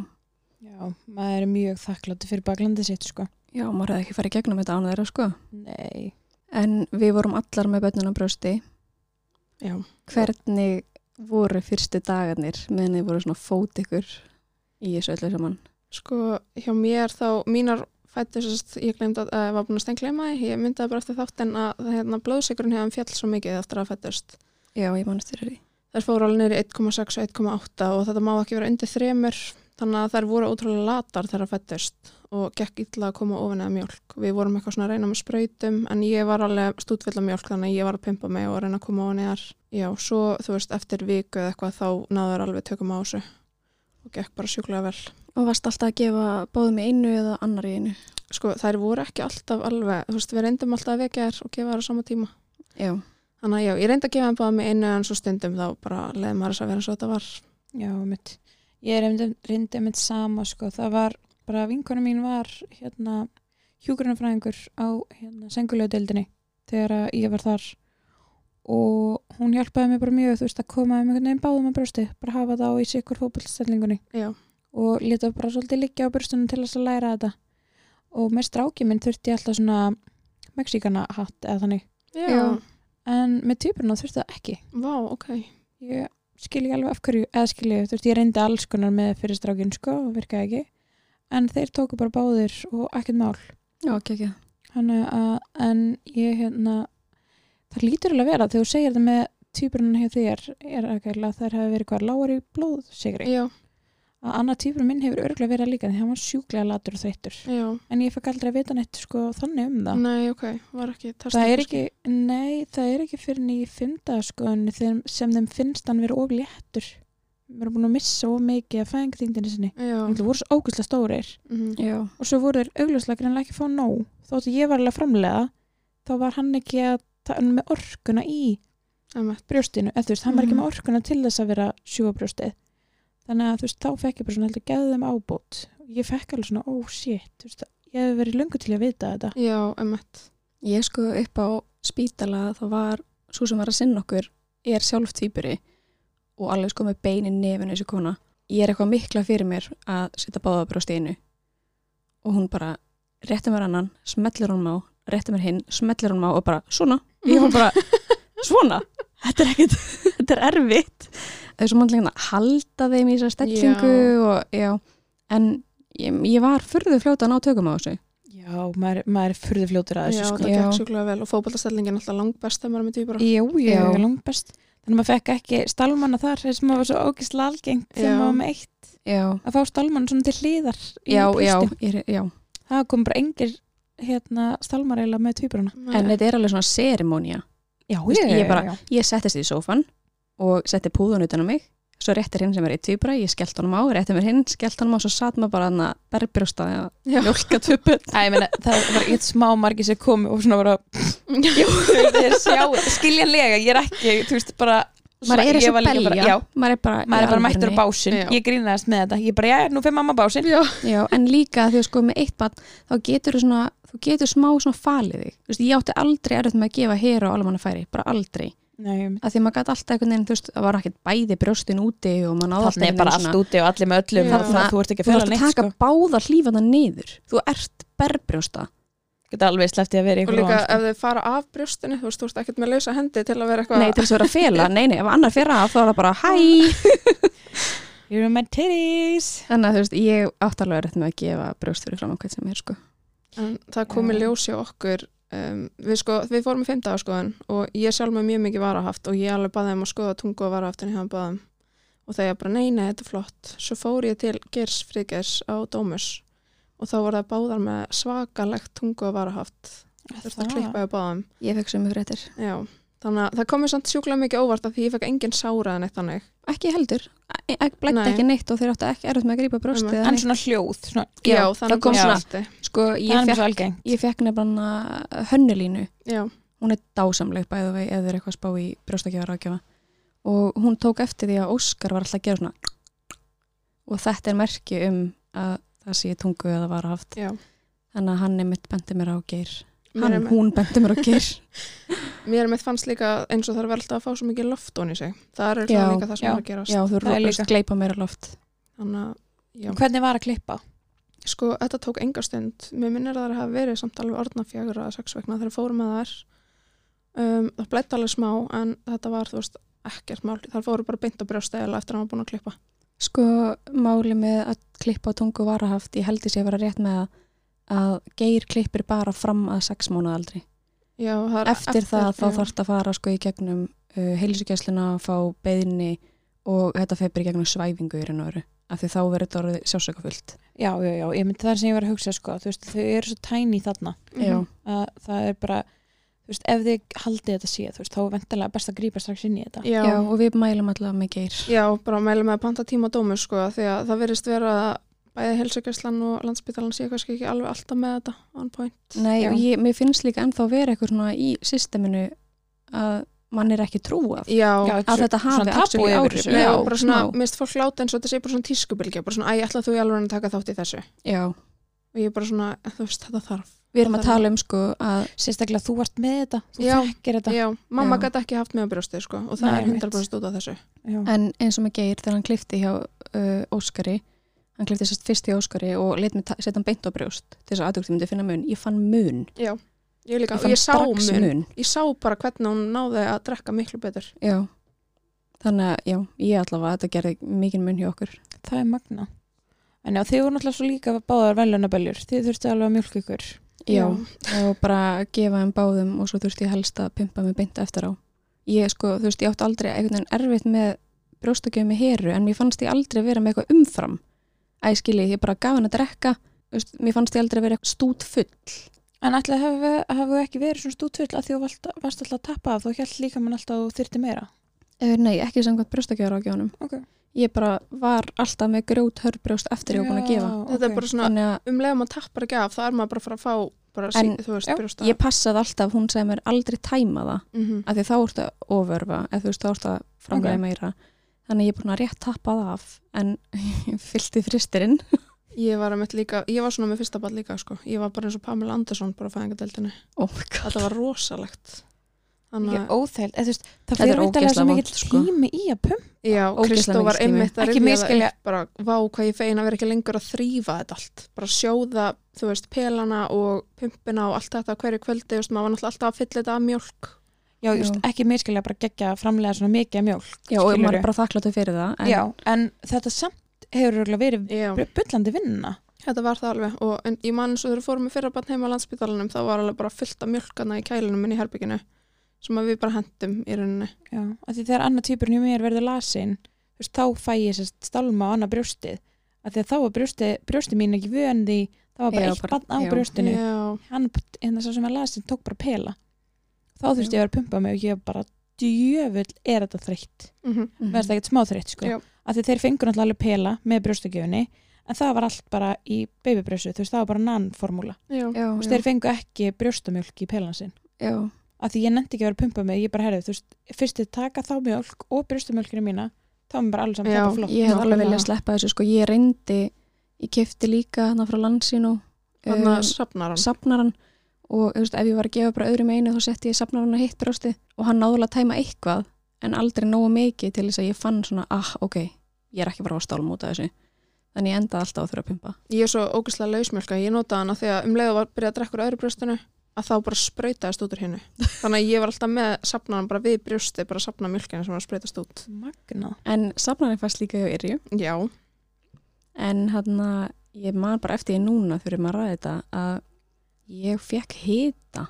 já, maður er mjög þakklátt fyrir baklandi sitt sko Já, maður hefði ekki farið í gegnum þetta án þeirra, sko. nei, En við vorum allar með bönnin á brjósti. já, Hvernig voru fyrstu dagarnir meðan þið voru svona fót ykkur í þessu öllu saman? Sko, hjá mér þá, mínar fættu, sérst, ég glemt að uh, var búin að stengleima því, ég myndaði bara eftir þátt en að það, hérna, blóðsikurinn hefðan fjall svo mikið eftir að fættust. Já, ég mannst fyrir því. Þær fóru alveg niður í 1,6 og 1,8 og þetta má ekki vera undir þremur, þannig að þær voru ótrúlega latar þegar að fættust og gekk illa að koma ofan eða mjölk. Við vorum eitthvað svona að reyna með sprautum en ég var alveg stútvill af mjölk þannig að ég var að pimpa mig og reyna að koma ofan eða já, svo þú veist, eftir viku eða eitthvað þá náður alveg tökum á þessu og gekk bara sjúklega vel. Og varst alltaf að gefa báðum í einu eða annar í einu? sko, þær voru ekki alltaf alveg, þú veist, við reyndum alltaf að vekja þær og gefa þær á sama tíma. Já. Þannig að já, ég reyndi að gefa þeim báða með einu en svo stundum þá bara leiði maður þess að vera eins og þetta var. já, mitt ég reyndi- reyndi mitt sama sko það var, bara vinkona mín var hérna, hjúgrunafræðingur á hérna, sengulegudildinni þegar að ég var þar og hún hjálpaði mér bara mjög þú veist að koma um einhvern veginn báðum að brjósti bara hafa það á í sikkur fótbollstellingunni Já, og leta bara svolítið liggja á brjóstunum til þess að læra þetta og með stráki minn þurfti ég alltaf svona mexíkana hatt eða þannig já. en með týpurna þurfti það ekki Vá, ok. ég skil ég alveg af hverju eða skil ég, þú veist, ég reyndi alls konar með fyrir strákinn, sko, og virkaði ekki en þeir tóku bara báðir og ekkert mál Já, ekki, ekki. þannig að, en ég hérna það lítur alveg að vera þegar þú segir þetta með týpurinn hjá þér er ekki að þær hafi verið hvað lágar í blóðsigri Já, að annað týpurinn minn hefur örgulega verið líka því hann var sjúklega latur og þreyttur já. en ég fekk aldrei að vita neitt sko þannig um það Nei, ok, var ekki testa. það er ekki, nei, það er ekki fyrir nýjum fymta sko en þeim, sem þeim finnst hann verið of léttur við erum búin að missa svo mikið af fæðingatíndinni sinni Já. það voru svo ógæslega stórir Mhm. Já. og svo voru þeir augljóslega greinlega ekki að fá nóg þótt að ég var alveg að framlega þá var hann ekki að ta- með orkuna í Einmitt. brjóstinu eða þú veist, hann var ekki Mhm. með orkuna til þess að vera sjúa brjóstið þannig að þú veist, þá fekk ég bara svona heldur geðið þeim ábútt ég fekk alveg svona, oh shit þú veist, ég hef verið löngu til að vita þetta Já, emmett. Ég sko upp á spítala þá var svo sem var að sinna okkur er sjálf týpuri og alveg sko með beinin nefinu þessu kona ég er eitthvað mikla fyrir mér að setja báða brjóst í einu og hún bara rétti mér annan, smetlir hún má rétti mér hinn, smetlir hún má og bara svona, ég var (laughs) bara svona þetta er ekkert, (laughs) þetta er erfitt þessu mannlegin hérna að halda þeim í þessar stellingu og já en ég, ég var furðu fljóta að ná tökum á þessu já, maður, maður er furðu fljótur að Já, þessu það sko. Já. gekk sjúklega vel og fótballtastellingin alltaf langbest þegar maður er með týpur já, já, Já. já. langt best þannig að maður fekk ekki stálmanna þar sem maður var svo ógæslega algengt Já. þegar maður var með eitt já, að fá stálmann svona til hliðar í já, já, brjósti. ég, já það kom bara engir hérna, stálmar eiginlega með tvíbrana En þetta er alveg svona serimónia. já, veist, ég bara- já. Ég settist í sófan og setti púðan utan á mig, svo réttir hinn sem er í tvíbra, ég skellt honum á, réttir mér hinn, skellt honum á, svo satt maður bara hann að berbrjóstaði Já. að mjölka (laughs) tvöpun. Æ, ég meina, það var eitt smá margi sem kom og svona bara Jú, þeir sjá, skiljanlega, ég er ekki, þú veist, bara Maður er Ég eins og var líka belja, bara- Já, maður er bara, maður er bara mættur á alvörunni. básinn, Já. ég grínaðist með þetta Ég bara, já, nú fyrir mamma básinn Já, Já, en líka því að sko með eitt bann, þá getur þú svona, þú getur smá svona falið þig. Þú veist, ég átti aldrei erfitt með að gefa hér á almanna færi, bara aldrei. Nei, Að því að maður gæti alltaf einhvern veginn, þú veist, það var ekkert bæði brjóstin úti og maður náði Þannig er bara allt úti og allir með öllum Já. Þannig að þú ert ekki að Þú fela ert að neitt, taka sko báða hlífana niður. Þú ert berbrjósta. Geta alveg sleppti að vera í og ykkur líka ofan, sko. ef þið fara af brjóstinu, þú veist, þú ert ekkert með lausa hendi til að vera eitthvað Nei, til þess að vera að fela, nei, nei, ef annar fyrir af þá er það bara hæ Here are my titties Þannig að þú veist, ég átt alveg rétt með að gefa brjóst fyrir fram á hvern sem er, sko En það komi Já. ljós hjá okkur um, við, sko, við fórum í fimmtagaskoðun og ég sjálf með mjög mikið varahaft og ég alveg baði þeim að skoða tungu og varahaft en ég hafa baðum og þegar bara nei, nei, þetta er flott svo fór ég til Gers Frigers á Dómus og þá voru það báðar með svakalegt tungu og varahaft þurfti að klippa hjá báðum Ég fekk sömu fréttir Já, þannig að það komi samt sjúklega mikið óvart af því ég fekk engin sáraðan eitt þannig Ekki heldur, blætti Nei. ekki neitt og þeir áttu ekki erfitt með að grípa brjóst Nei. eða En neitt svona hljóð, svona Já, þannig það kom að- svona- Já. Sko, Það ég er mjög fekk, svo algengt ég fekk nefnilega hönnulínu Já, Hún er dásamleg bæðu vei eða er eitthvað að spá í brjóstakjafar ákjafa Og hún tók eftir því að Óskar var alltaf að gera svona Og þetta er merki um að það sé tungu eða var já Þannig að hann er mitt bendi mér á geir Mér, hann, er, hún benti mér að ger mér er með fannst líka eins og það er vel alltaf að fá svo mikið loft ofan í sig. Það er Já, líka það sem já, er að gerast. já, þú Það er rúst líka. gleipa mér að loft Þannig að, já. Hvernig var að klippa? Sko, þetta tók enga stund. Mér minnir að það hafa verið samt alveg orðna fjagur að sex vegna þegar við fórum að það er. Um, það blætt alveg smá, en þetta var, þú veist, ekkert mál. Það fóru bara beint á brjóstæðila eftir að hann var búin að klippa. sko máli með að klippa á tungu varahaft, ég held ég sé að vera rétt með að, að geir klippir bara fram að sex mánuð aldrei Já, það er eftir, það þá já. þarf að fara sko í gegnum uh, heilsugjæsluna, fá beðinni og þetta feibir í gegnum svæfingu í raun og veru, af því þá verður þetta orðið sjásökafullt Já, já, já, ég myndi það er sem ég var að hugsa, sko Þú veist, þau eru svo tæni þarna Mhm. að það er bara þú veist, ef þið haldið þetta sé, þú veist, þá er vendilega best að grípa strax inn í þetta Já, Já, og við mælum allavega með geir já, bara mælum með að panta tíma á dómu, sko, því að það verist vera að bæði helsugjöslan og landsbytalan sé kannski ekki alveg alltaf með þetta on point. Nei, Já. og ég, mér finnst líka ennþá verið eitthvað svona í systeminu að mann er ekki trúað Já, Já, að þetta svona hafi tabú actually yfir áhrif þessu. Já, já, bara svona, smá. mér finnst fólk láta eins og þetta sé bara svona tískubilgja, bara svona, æ, ætla þú í alveg að taka þátt í þessu. já. Og ég er bara svona, þú veist, þetta þarf. við erum að Það er- tala um sko að sérstaklega þú vart með þetta, þú Já. þekkir þetta Já, mamma Já. gæti ekki haft mig á brjóstið, sko, og það Nei, er einmitt. 100% út af þessu. Já. en eins og með Geir þegar hann klifti hjá uh, Óskari hann klifti sérst fyrst hjá Óskari og let mig ta- setja hann beint á brjóst til þess að aðdugtum myndi finna mun, ég fann mun Ég líka, ég og fann ég sá strax mun, mun. ég sá bara hvernig hún náði að drekka miklu betur. Já. þannig að já, ég allavega þetta gerði mikið mun hjá okkur það er magna en já, þið voru náttúrulega svo líka báðar velunaböljur þið þurftu alveg að mjölka ykkur já, og bara gefa þeim báðum og svo þurfti ég helst að pimpa mig beint eftir á ég sko, þú veist, ég átti aldrei einhvern veginn erfitt með brjóstakjöfum með heru en mér fannst ég aldrei vera með eitthvað umfram að ég skilji, ég bara gaf hann að drekka þú veist, mér fannst ég aldrei vera stút full en ætlaði hafa, hafa ekki verið svona stútfull að því þú varst, varst alltaf að tappa af þú hjælt líka mann alltaf að þú þyrti meira Eh, Nei, ekki samkvæmt brjóstakjara á gjónum. Ok. Ég bara var alltaf með grjót hörbrjóst eftir ég var búin að gefa. Þetta er bara svona, Þannig að um leiðum að tappar ekki af, það er maður bara að fara að fá, bara, sí, En- þú veist, já, brjósta. ég passaði alltaf, hún segði mér aldrei tæma það. Mhm. Af því þá ertu að ofurfa, eða þú veist, þá ertu að framlega meira. Þannig að ég er búin að rétt tappa það af, en (laughs) ég fyllti fristirinn. Ég var að mitt líka, ég var svona með fyrsta ball líka, sko. Ég var bara eins og Pamela Andersson bara á fæðingadeildinni. Oh my god. Þetta var rosalegt. Ég er Þannig, óþæld, eða þú veist, það Þetta er fyrir vittalega svo ógeðslega mikill vont, sko. tími í að pumpa. já, ógeðslega Kristó var mikill tími. einmitt að Ekki rifja það misskilja. upp, bara, vá, hvað ég fegin að vera ekki lengur að þrýfa þetta allt. Bara sjóða, þú veist, pelana og pumpina og allt þetta á hverju kvöldi, þú veist, maður var náttúrulega alltaf að fylla þetta af mjölk. Já, þú veist, ekki miskilja bara gegja framlega svona mikið af mjólk. Já, og maður skilurðu. er bara þakkláttu fyrir það. En, Já, en þetta samt hefur örugglega verið Já. bullandi vinna. Þetta var það alveg og en, ég man eins og þegar við fórum með fyrra barn heima á landsbytalanum þá var alveg bara fullt af mjölkana í kælinum inn í herbygginu sem að við bara hendum í rauninni. Já, af því þegar annar týpurinn hjá mér verður lasin, þú veist, þá fæ ég sérst stálma á annað brjóstið. Af því að þá var brjóstið, brjóstið mín ekki vöndi, þá var bara Já, eitt bara- bann á já. brjóstinu. Já, Hann, hérna sá sem var lasin, tók bara pela. Þá þurfti ég að vera að pumpa mig og ég var bara, djöfull er þetta þreytt. mm Mhm. mér finnst það ekkert smá þreytt sko Já. af því þeir fengur náttúrulega alveg pela með brjóstakjöfunni en það var allt bara í babybrjósu þú veist það var bara nanformúla já. Já, þú veist já, þeir fengu ekki brjóstamjölk í pelan sinn já. af því ég nefndi ekki að vera að pumpa mig ég bara herði þú veist fyrst þið taka þá mjölk og brjóstamjölkina mína þá er mér bara alveg saman Já, það er bara flott Ég hef alveg nákvæmlega. viljað sleppa þessu, sko. Ég reyndi, ég kefti líka hana frá landsínu. Þannig um, að safnar hann. safnaran og þú veist, ef ég var að gefa bara öðrum einu þá setti ég safnaran að hitt brjósti og hann náðulega að tæma eitthvað en aldrei nógu mikið til þess að ég fann svona ah, ok, ég er ekki bara á stálum út af þessu þannig ég endaði alltaf að þurfa að pumpa Ég er svo ógeðslega lausmjölka, ég notaði hana þegar um leiðu var að byrja að drekka úr öðru brjóstinu að þá bara spröytast út úr (laughs) hinnu. Þannig að ég var alltaf með safnaran bara við brjósti bara að safna mjölkina sem var að spröytast út. magna en safnaran fæst líka hjá yrju Já, en hann að ég man bara eftir ég núna þurfum að ræða þetta að ég fekk hita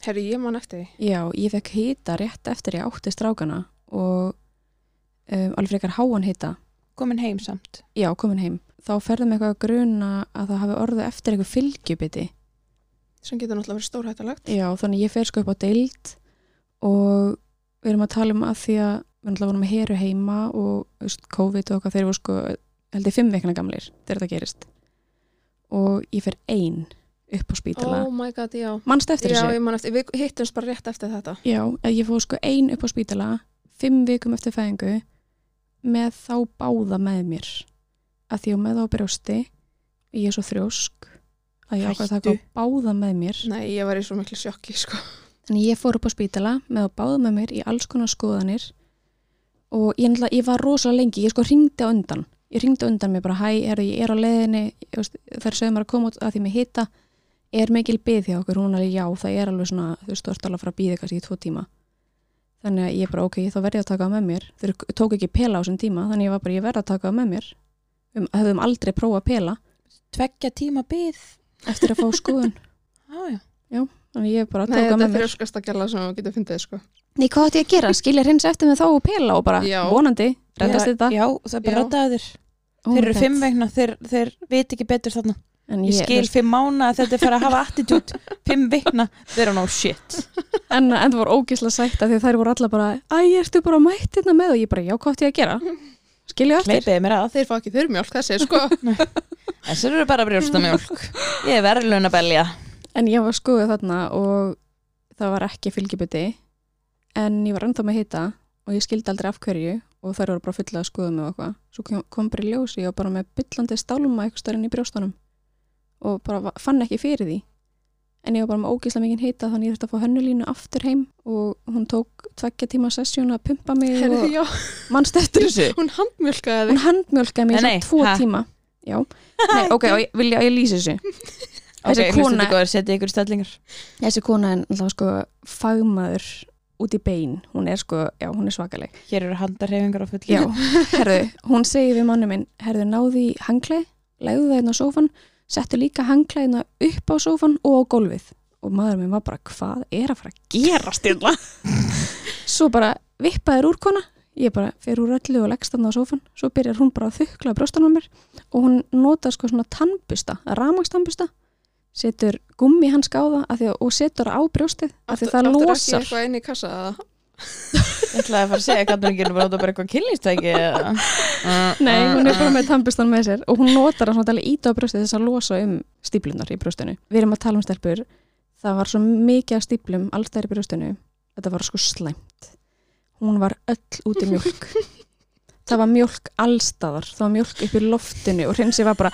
herri ég man eftir því. Já, ég fekk hita rétt eftir ég átti strákana og um, alveg frekar háan hita komin heim samt já, komin heim, þá ferðum eitthvað að gruna að það hafi orðið eftir eitthvað fylgjubiti. Sem getur náttúrulega verið stórhættalegt. Já, þannig ég fer sko upp á deild og við erum að tala um að því að við náttúrulega vorum með heru heima og þú veist, COVID og okkar þeir voru sko held ég fimm veikna gamlir þegar þetta gerist. Og ég fer ein upp á spítala. Oh my god, já. Manst eftir Já, þessu? ég man eftir, við hittumst bara rétt eftir þetta. Já, að ég fór sko ein upp á spítala fimm vikum eftir fæðingu með þá báða með mér að því ég var með þá á brjósti ég er svo þrjósk að ég ákvað að taka báða með mér Nei, ég var í svo miklu sjokki, sko. þannig ég fór upp á spítala með að báða með mér í alls konar skoðanir og ég, náttúrulega- ég var rosalega lengi ég sko ringdi á undan ég ringdi á undan mér bara hæ, heru, ég er á leiðinni ég veist, þær sögðu mér að koma út að því mig hita er mikil byð hjá okkur, hún alveg já það er alveg svona, þú veist, þú ert alveg að fara að býða kannski í tvo tíma þannig að ég bara ok, þá verði að taka það með mér þau tók ekki pela á þessum tíma þannig ég var bara, ég verði að taka það með mér um, höfum aldrei prófað pela tveggja tíma byð eftir að fá (laughs) skoðun ah, já. þannig ég bara Nei, tók það þetta með er mér þrjóskasta gæla sem við getum fundið, sko. Nei, hvað átti ég að gera? Skilja hreins eftir með þá og pela og bara, Já. vonandi, reddast Já, þetta. já, það er bara Já. rættaður Oh þeir my eru God. fimm vegna, þeir, þeir veit ekki betur þarna En ég skil fimm mánu að þetta er fara að hafa attitút fimm vikna, þeir eru ná shit (laughs) En, en það var ógislega sætt að því þær voru alla bara, æ, ertu bara mætt hérna með og ég bara, já, hvað átti ég að gera? Skilja eftir. hleypiði mér að Þeir fá ekki þurrmjólk, þessi, sko. (laughs) þessar eru bara brjóstamjólk ég er verðlun að belja En ég var skoðið þarna og það var ekki fylgjubuti, en ég var ennþá með hita og ég skildi aldrei af hverju og þær voru bara fulla að skoða mig og eitthvað. Svo kom, kom bara í ljós, ég var bara með byllandi stálma eitthvað starinn í brjóstunum og bara va- fann ekki fyrir því. En ég var bara með ógislega mikið hita þannig ég þurfti að fá hönnulínu aftur heim og hún tók tveggja tíma sessjón að pumpa mig Herri, og já, mannst eftir þessu. hún handmjölkaði Hún handmjölkaði mig Nei, í nei, svona tvo ha? tíma. Já, nei, ok, og ég, vilja að ég lýsa þessu? Þessi ok, kona- hlustandi góður, setja ykkur í stellingar Þessi kona er alltaf sko fagmaður út í bein, hún er sko, já, hún er svakaleg. hér eru handarhefingar á fullu Já, (laughs) herðu, hún segi við manni minn, herðu, náðu í hangleið, legðu það inn á sófan, settu líka hangleiðina upp á sófan og á gólfið. Og maður minn var bara, hvað er að fara að gera stilla? (laughs) svo bara vippaður úr kona, ég bara fer úr öllu og leggst þarna á sófan, svo byrjar hún bara að þukla brjóstan á mér og hún notar sko svona tannbusta, ramagstannbusta, setur gummi hans gáða að, og setur á brjóstið af því Áttu- það áttirðu losar. ekki eitthvað inn í kassa að Ég ætlaði að fara að segja hvað hún gerir bara, þetta er bara eitthvað kynlýstæki eða Nei, hún er bara með tannbustan með sér og hún notar að svona tala íta á brjóstið þess að losa um stíplunar í brjóstinu. Við erum að tala um stelpur, það var svo mikið af stíplum allstæri í brjóstinu, þetta var sko slæmt. Hún var öll út í mjölk. það var mjölk allstaðar, það var mjölk upp í loftinu og hreinsi var bara,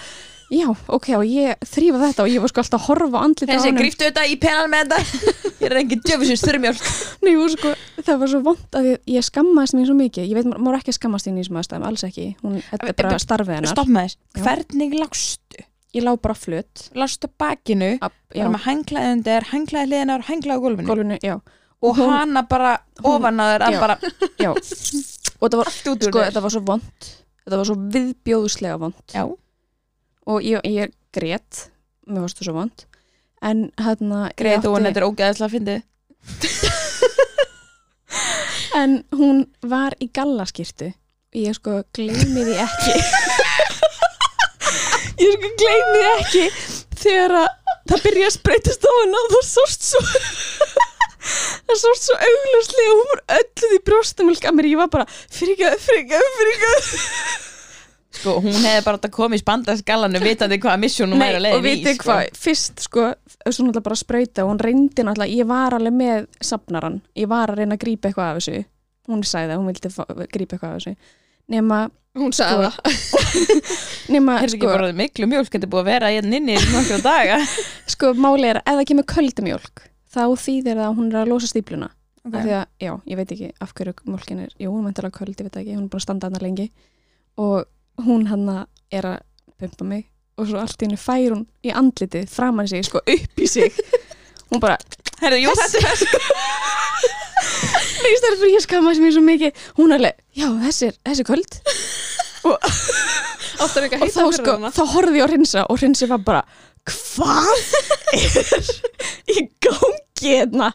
já, ok, og ég þrýfa þetta og ég var sko alltaf að horfa á andlita Þessi, gríftu þetta í penan með þetta Ég er engin djöfisins þurrmjólk Nei, og sko, það var svo vond að ég, ég skammaðist mér svo mikið. Ég veit, maður maður á ekki að skammast þín í þessum aðstæðum, alls ekki. Hún, þetta er bara starfið hennar. Stopp með þess, Já. hvernig lástu? Ég lá bara flut. Lástu á bakinu, Ab, já, bara með hanglaði undir, hanglaði hliðinar, hanglaði á gólfinu gólfinu, já. og hún- hana bara hún- ofan að þér að Já. bara já. Og þetta var, allt út úr sko, þér. þetta var svo vond. Þetta var svo viðbjóðslega vond. Já, Og ég, ég grét, mér varst það svo vond. En hérna... ég greið og átti- hún þetta er ógeðslega að fyndi En hún var í gallaskirtu. Ég sko gleymi því ekki. (laughs) ég sko gleymi því ekki þegar að það byrja að spreytast á hana og það sást svo (laughs) það sást svo augljóslega og hún var ölluð í brjóstamölk að mér. Ég var bara frikað, frikað, frikað. Sko, hún hefði bara átt að koma í spandarskallanum vitandi hvaða misjón hún væri að leiða og vitið sko. hvað, fyrst sko, þessu náttúrulega bara að sprauta og hún reyndi náttúrulega, ég var alveg með sapnaran, ég var að reyna að grípa eitthvað af þessu. Hún sagði það, hún vildi fá- grípa eitthvað af þessu. Nema Hún Sko, sagði það. nema, Er ekki sko, bara miklu mjólk, þetta er búið að vera hérna inni í nokkra daga (laughs) sko máli er að ef það kemur köldumjólk þá þýðir það að hún er að losa stípluna okay. af því að, já, ég veit ekki af hverju mjólkin er, jú, hún er alveg köld, ég veit það ekki hún er búin að standa hann lengi og hún hann er að pumpa mig og svo allt í henni fær hún í andlitið framan sig, sko upp í (laughs) sig hún bara, Herðu, jú, þetta er neist það er fyrir ég skammaði mér svo mikið hún alveg, já, þessi er, þessi er köld Áttar ekki að og þá heita fyrir sko, hana. þá horfði ég á hreinsa og hreinsi var bara, hvað er í gangi hérna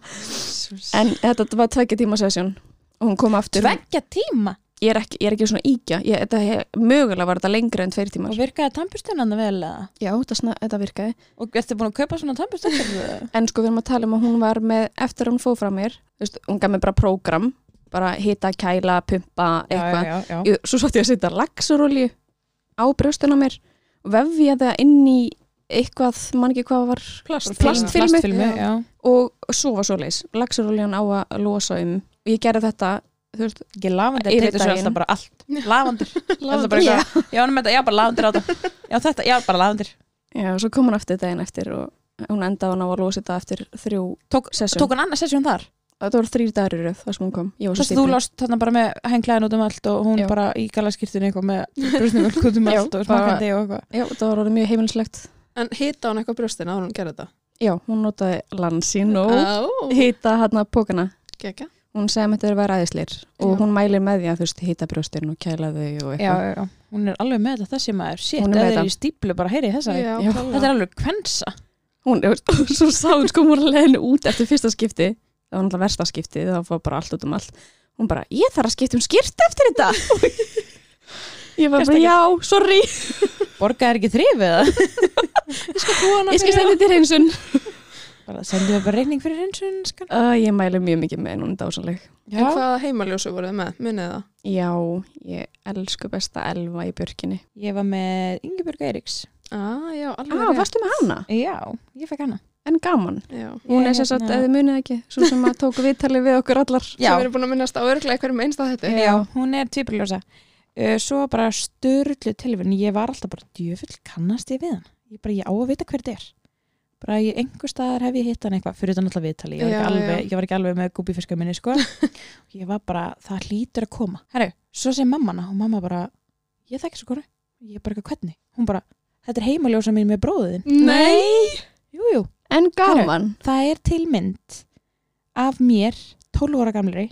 En þetta var tveggja tíma sessjón og hún kom aftur. (laughs) Tveggja tíma Ég er ekki, ég er ekki svona íkja. Ég, þetta, hef- mögulega var þetta lengra en tveir tímar. Og virkaði tannbustunanna vel eða? Já, þetta, svona, þetta virkaði. Og ertu búin að kaupa svona (laughs) tannbustun fyrir það? En sko við erum að tala um að hún var með, eftir að hún fóð frá mér, þú veist, hún gaf mér bara prógram, bara hita, kæla, pumpa, eitthvað. já, já, Ég- Svo sátti ég að setja laxurolju á brjóstun á mér, vefja það inn í eitthvað, man ekki hvað var, Plast, Plastfilmu. Plastfilmu, já og svo var svoleiðis. Laxuroljan á að losa um. Og ég gerði þetta, þú veist, Ekki lavendur, Yfir þetta er daginn. alltaf bara allt (laughs) Lavendur, þetta er bara Já. eitthvað Já, nema þetta, já, bara lavendur á (laughs) þetta Já, þetta, já, bara lavendur Já, svo kom hún aftur daginn eftir og hún endaði hann á að losa þetta eftir þrjú Tók- sessjón. Tók hann annað sessjón þar? Þetta voru þrjú dagar í röð þar sem hún kom. Ég var svo Þess að þú stípið. lást þarna bara með henglaðin út um allt og hún Já. bara í galaskirtinu eitthvað með brusnumölk út um Já, allt og bara- smakandi og eitthvað Já, þetta var orðið mjög heimilislegt. En hita hún eitthvað brjóstina áður en hún gerði þetta? Já, hún notaði landsín og Ó, hýta hann að pókana. Gekka. Hún segi að þetta er að vera æðisleir og Já. hún mælir með því að þú veist hýta brjóstin og kæla þau og já, eitthvað. já, já. hún er alveg með þetta þessi maður Hún er shit, með eða er þetta. í stíplu bara heyri þessa Já, Já. þetta er klálega. alveg kvensa Hún, þú veist, (laughs) og svo sá hún sko hún var að leiðinu út eftir fyrsta skipti. Það var náttúrulega versta skipti, það var bara allt út um allt. Hún bara, ég þarf að skipta um skýrt eftir þetta. ég var bara, já, sorry. borga er ekki þrif (laughs) eða Ég skal senda þetta í reynsun. bara sendum við bara reikning fyrir hinsun já, Uh, ég mæli mjög mikið með henni, hún er dásanleg. En hvaða heimaljósu voruð þið með? Munið þið það? Já, ég elsku besta elva í björkinni. ég var með Ingeborg Eiríks Ah, já, Á, alveg ah, varstu með hana? já, ég fekk hana En gaman. Já. Hún Ég er sem sagt, hérna- eða þið munið ekki, svo sem að tóku viðtalið við okkur allar. Sem við erum búin að minnast á örglega hverjum einstað þetta. já, Eh, hún er tvíbryljósa uh, svo bara störlu tilvinn ég var alltaf bara djöfull kannast ég við hann ég bara, ég á að vita hver þetta er bara ég einhver staðar hef ég hitt hann eitthvað fyrir þetta náttúrulega viðtali, ég var, Já, ekki alveg, já. ég var ekki alveg með gúbífiska minni (laughs) sko. ég var bara, það hlýtur að koma herru, svo segir mamman og mamma bara ég þekki svo konu, ég er bara eitthvað hvernig hún bara, þetta er heimaljósa mín með bróðin Nei! jú, jú, En gaman. það er til mynd af mér 12 ára gamlari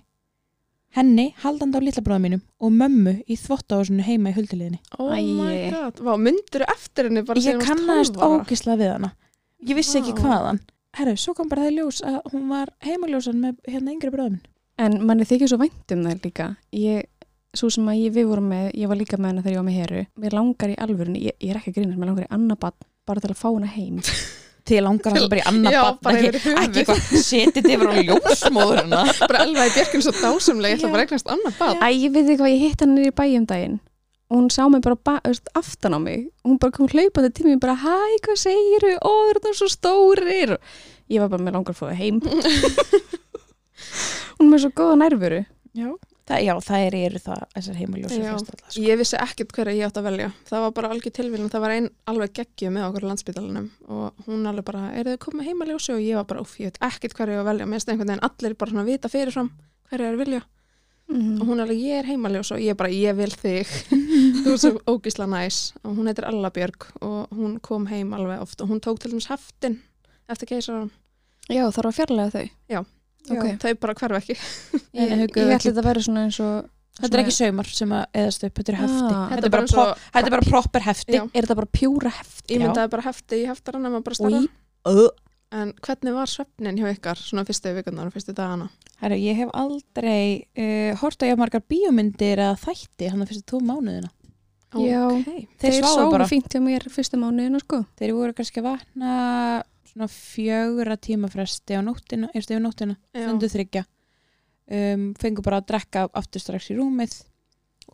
henni haldandi á litla bróða mínum og mömmu í þvottahúsinu heima í hulduliðinni Oh my Æi. god. Vá, myndir eftir henni bara ég síðan þú varst kannast 12 ára? ógislega við hana ég vissi ekki Vá. hvaðan herru, svo kom bara það í ljós að hún var heimaljósan með hérna yngri bróða minn En manni þykir svo vænt um það líka. Ég, svo sem að ég, við vorum með, ég var líka með hana (laughs) þegar ég var með heru. Mér langar í alvörinu, ég, ég er ekki að grínast, mér langar í annað barn bara til að fá hana heim. til langar alltaf bara í annað Já, bara barn yfir sko. ekki, höfuð. ekki eitthvað setið (laughs) yfir á ljósmóðurina bara elvaði björkun svo dásamlega, ég ætla bara að eignast annað bad. Æ, ég veit ekki hvað, ég hitt hann niður í bæjum daginn og hún sá mig bara ba öst, aftan á mig og hún bara kom hlaupandi til mig bara, hæ, hvað segiru, ó, er það svo stórir og ég var bara með langar að fóða (laughs) heim hún er með svo góða nærveru já. Það, já, það er, eru það þessar heimaljósa Já. festalla sko. Ég vissi ekkert hverja ég átt að velja. Það var bara algjör tilvílun. Það var einn alveg geggju með okkur á landsbytalanum og hún alveg bara, er þið komið heimaljósi? Og ég var bara, uff, ég veit ekkert hverja ég á að velja. Mér finnst einhvern veginn allir bara svona vita fyrirfram hverja er að vilja. Mm. Og hún alveg, ég er heimaljósi og ég bara, ég vil (laughs) þig. Þú ert svo ógísla næs. Og hún heitir Alla Björg og hún kom heim alveg oft og hún tók til dæmis heftin eftir keisaran. Já, þarf að fjarlæga þau Ok. Þau bara hverfa ekki. Ég, ég, hugguðu ætli þetta að vera svona eins og Þetta er ekki saumar sem að eðast upp, þetta er hefti Ah. Þetta er bara, svo, pro, þetta er bara proper hefti Já. Er þetta bara pjúra hefti? ég myndaði bara hefti í heftaran en maður bara starra. Í, uh, En hvernig var svefnin hjá ykkar svona fyrstu vikunar og fyrstu dagana? Herru, ég hef aldrei uh, hort að ég margar bíómyndir eða þætti hann að fyrstu tvo mánuðina. Já. Ókei. Þeir, Þeir sváðu sáu bara. fínt hjá mér fyrstu mánuðinu, sko Þeir voru kannski að vakna svona fjögra tíma fresti á nóttina, eftir yfir nóttina, Já. stundu þryggja. Um, fengu bara að drekka aftur strax í rúmið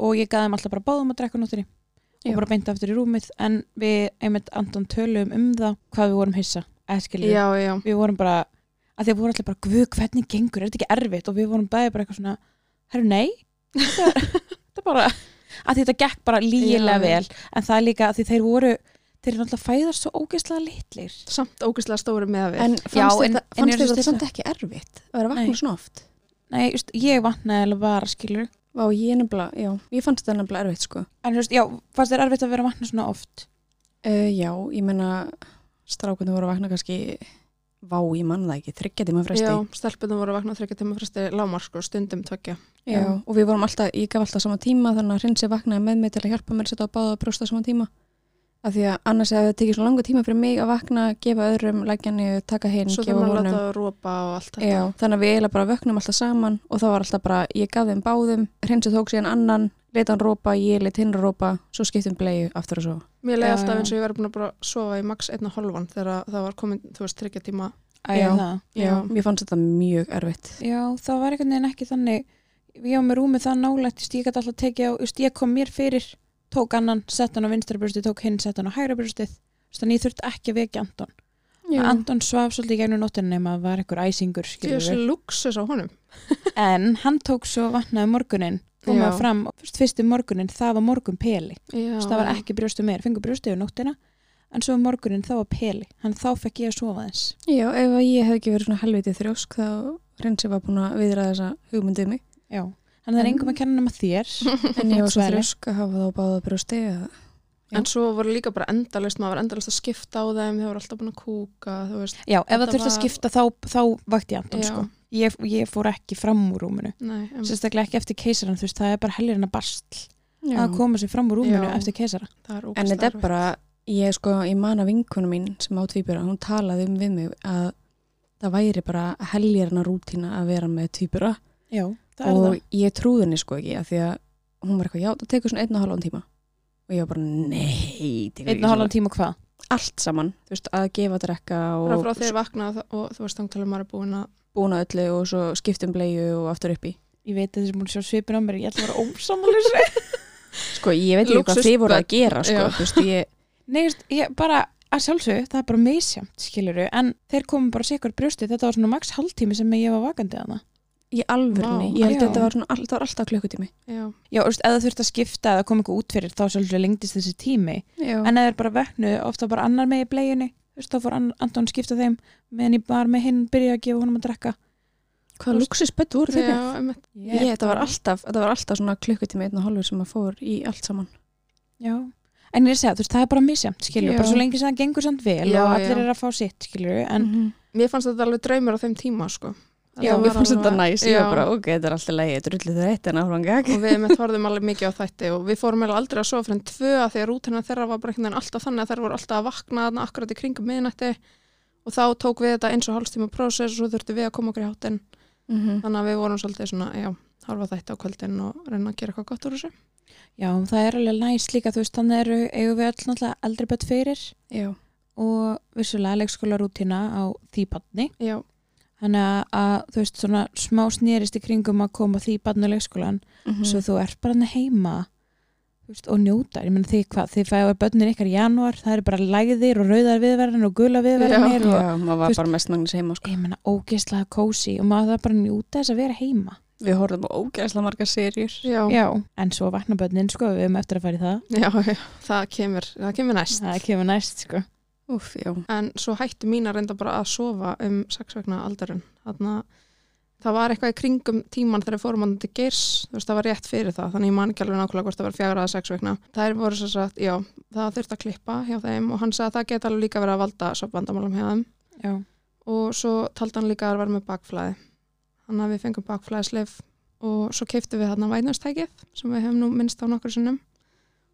og ég gaði þeim alltaf bara báðum að drekka á nóttinni og Já. bara beinti aftur í rúmið en við einmitt Anton töluðum um það hvað við vorum hissa, eða skiljum Já, já. við vorum bara að því að voru alltaf bara guð hvernig gengur, er þetta ekki erfitt og við vorum bæði bara eitthvað svona, herru nei (laughs) þetta er bara að því þetta gekk bara lígilega Já, já. vel en það er líka að því þeir voru þeir eru alltaf fæðast svo ógeðslega litlir Samt ógeðslega stóri með við. En Já, fannst en- þetta- en eru fannst þau þetta stilla? samt ekki erfitt að vera að Nei. vakna svona oft nei, just, ég vatnaði alveg bara skilur Vá, ég nefnilega, já, ég fannst þetta nefnilega erfitt, sko en just, já, fannst þér erfitt að vera að vatna svona oft Uh, já, ég meina strákunni voru að vakna kannski vá, ég mann það ekki, þryggja tíma fresti já, stelpunum voru að vakna þryggja tíma fresti lámar sko, stundum tvekja. Já, og við vorum alltaf, ég gaf alltaf sama tíma þannig að hrinsi vaknaði með mig til að hjálpa mér að setja á báða að brjósta sama tíma af því að annars hefði það tekið svo langa tíma fyrir mig að vakna, gefa öðrum, leggja niður, taka hinn, Svo gefa þurfum að honum láta rópa og allt þetta. Já, þannig að við eiginlega bara vöknum alltaf saman og það var alltaf bara, ég gaf þeim báðum hrinsi tók síðan annan, leta hann rópa ég let hinn rópa, svo skiptum blei aftur og svo. Mér leiði Já, alltaf já. eins og ég verið búin að bara sofa í max einna hálfan þegar það var komin, þú veist, þryggja tíma. Æ, Já. það. Já. Mér fannst þetta mjög erfitt. já, það var einhvern veginn ekki þannig ég var með rúmið það nálægt just, ég gæti alltaf tekið á, just, ég kom mér fyrir tók annan, sett hann á vinstra brjóstið tók hinn, sett hann á hægra brjóstið Just, þannig ég þurfti ekki að vekja Anton Já. Anton svaf svolítið í gegnum nóttinni nema að var einhver æsingur Ég er skilur svo við. luxus á honum. En hann tók svo vatnaði morgunin kom Já. það fram, og fyrst fyrstu morgunin það var morgun peli, Já. það var ekki brjóstu meir fengur brjóstu yfir nóttina en svo morgunin þá var peli, hann þá fekk ég að sofa þess Já, ef að ég hef ekki verið svona helviti þrjósk þá reynsi var búin að viðra þessa hugmyndið (laughs) mig. Já, hann það er engum að kenna nema þér En ég var svo Svæli. þrjósk að hafa þá báða brjósti. að- Já. En svo voru líka bara endalist, maður var endalist að skipta á þeim, þau voru alltaf búin að kúka, þú veist. Já, ef það Þetta þurfti að var- skipta þá, þá vakti ég Anton Já. Mm. sko ég, ég fór ekki fram úr rúminu Nei, em, sérstaklega ekki eftir keisaran þú veist, það er bara hellir en að bastl að Já. koma sér fram úr rúminu Já. eftir keisara það er En ógeðslega þetta er erfitt. bara, ég sko, ég man af vinkonu mín sem á tvíbura, hún talaði um við mig að það væri bara heljarna rútína að vera með tvíbura Já, það er og það ég trúði henni sko ekki að því að hún var eitthvað, já, það tekur svona einn og halvan tíma og ég var bara, nei, tekur Einn og halvan tíma hvað? allt saman, þú veist, að gefa að drekka Bara frá og þeir vakna og þú veist, þá talum maður er búin að búna öllu og svo skiptum bleiu og aftur upp í Ég veit að þessi múin sjá svipin á mér, ég ætla að vera ósamális Sko, ég veit ekki hvað Lúxus þið voru að gera, sko, Já. þú veist, ég, Nei, just, ég bara, að sjálfsög, það er bara meðsjamt, skiluru, en þeir komum bara sikur brjósti, þetta var svona max hálftími sem ég var vakandi að það. ég alvörni, Vá, ég já. held að þetta var, svona, all, þetta var alltaf klukkutími. Já, Já, þú veist, eða þurft að skipta eða koma eitthvað út fyrir, þá sjálfsög lengdist þessi tími, Já. en eða þeir bara veknu, ofta bara annar með í bleiunni, þú veist, þá fór ann- Anton að skipta þeim, meðan ég var með hinn, byrja að gefa honum að drekka. Hvaða luxusbett voru þið já, með? em, Ég, þetta var alltaf, þetta var alltaf svona klukkutími einn og halvur sem að fór í allt saman. Já, en ég er að segja, þú veist, það er bara misjamt, skiluru, Já. bara svo lengi sem það gengur samt vel Já, og allir já. eru að fá sitt, skiluru, en -hmm. Mér fannst þetta alveg draumur á þeim tíma sko. Já, Það mér var fannst þetta alveg- næs, ég Já. var bara, ok, þetta er alltaf leið, þetta er rullið þetta en áfram gag. og við með þorðum alveg mikið á þætti og við fórum eiginlega aldrei að sofa fyrir en tvö að því að rútina þeirra var bara einhvern veginn alltaf þannig að þeir voru alltaf að vakna þarna akkurat í kringum miðnætti og þá tók við þetta eins og hálfstíma prósess og svo þurftum við að koma okkur í hátinn Mm -hmm. þannig að við vorum svolítið svona, já, hálfa þætti á kvöldin og reyna að gera eitthvað gott úr þessu já, það er alveg næst líka, þú veist, þannig eru, eigum við öll náttúrulega eldri börn fyrir Já, og vissulega leikskólarútina á því badni já, þannig að, að þú veist svona smá snerist í kringum að koma því badni á leikskólan Mhm. svo þú ert bara hann heima þú veist, og njótar, ég meina þið hvað þið fæðu börnin ykkar í janúar, það eru bara lægðir og rauðar viðverðin og gula viðverðinir og Já, maður var Þú veist- bara mest magnis heima sko. ég meina ógeðslega kósi og maður það bara að njóta þess að vera heima Við horfum á ógæsla marga serjur já, já, Já. en svo vakna börnin sko, við höfum eftir að fara í það já, það kemur, það kemur næst. það kemur næst sko Úf, já En svo hættu mín að reynda bara að sofa um sex vegna aldurinn. Þannig að það var eitthvað í kringum tíman þegar við fórum hann til Geirs, þú veist, það var rétt fyrir það, þannig ég man ekki alveg nákvæmlega hvort það var fjagra að sex vegna. Þær voru svo sagt, já, það þurfti að klippa hjá þeim og hann sagði að það geti alveg líka verið að valda sopvandamálum hjá þeim Já. og svo taldi hann líka að það var með bakflæði. Þannig að við fengum bakflæðislif og svo keiftum við þarna vænastækið sem við hefum nú minnst á nokkur sinnum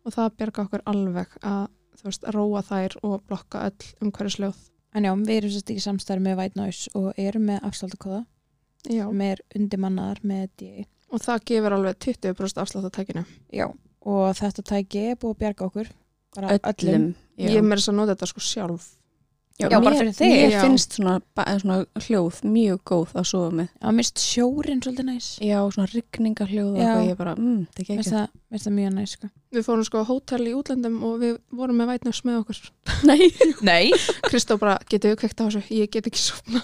og það bjarga okkur alveg að, þú veist, róa þær og blokka öll umhverjusljóð. En já, við erum sérst ekki samstæður með White Noise og erum með afsláttakóða Já. sem er undirmannaðar með DA. Og það gefur alveg 20% afslátt á tækinu. Já. Og þetta tæki er búið að bjarga okkur. Bara Öllum Já, Ég mér þess að nota þetta sko sjálf. já, Já, bara mér, fyrir þig. Mér Já. finnst svona, ba- eh, svona hljóð mjög góð að sofa með Já, mist sjórin svolítið næs. Já, svona rigningahljóð og Já. eitthvað, ég bara, mm, það Mist er ekki það, mist það mjög næs, sko. Við fórum sko á hótel í útlöndum og við vorum með vætnars með okkur. Nei Nei. Kristó bara, getur við kveikt á þessu? Ég get ekki sopna.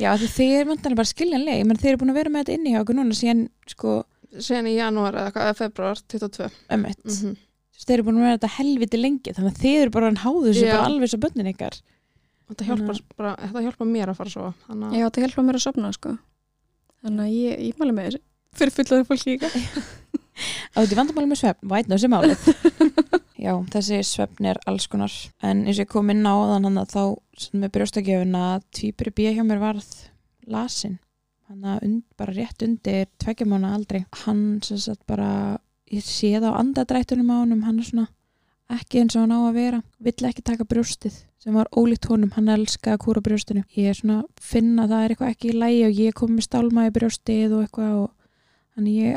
Já, því þeir er vantanlega bara skiljanlega. Ég menn þeir eru búin að vera með þetta inni hjá okkur núna síðan, sko, Sen í janúar eða eitthvað, eða februar 22. ömmett. Mm Þeir eru búin að vera þetta helviti lengi, þannig að þeir eru bara hann háðu þessu Já. bara alveg svo bönnin ykkar. Og þetta hjálpar, bara, þetta hjálpar mér að fara að sofa. Þannig Já, það hjálpa mér að sofna, sko Þannig að ég, ég mæli með þessu Fyrir fullaður fólk líka Og þetta er vandamáli með svefn, White Noise er málið. Já, þessi svefn er alls konar. En eins og ég kom inn á þann hann að þá sem með brjóstakjöfuna tvípuri bíja hjá mér varð lasin. Hann að und, bara rétt undir tveggja mánu aldrei. Hann sem sagt bara, ég sé það á andadrættunum á honum, hann er svona ekki eins og hann á að vera. Vill ekki taka brjóstið sem var ólíkt honum, hann elskaði að kúra brjóstinu. Ég er svona finn að það er eitthvað ekki í lægi og ég kom með stálma í brjóstið og eitthvað og þannig ég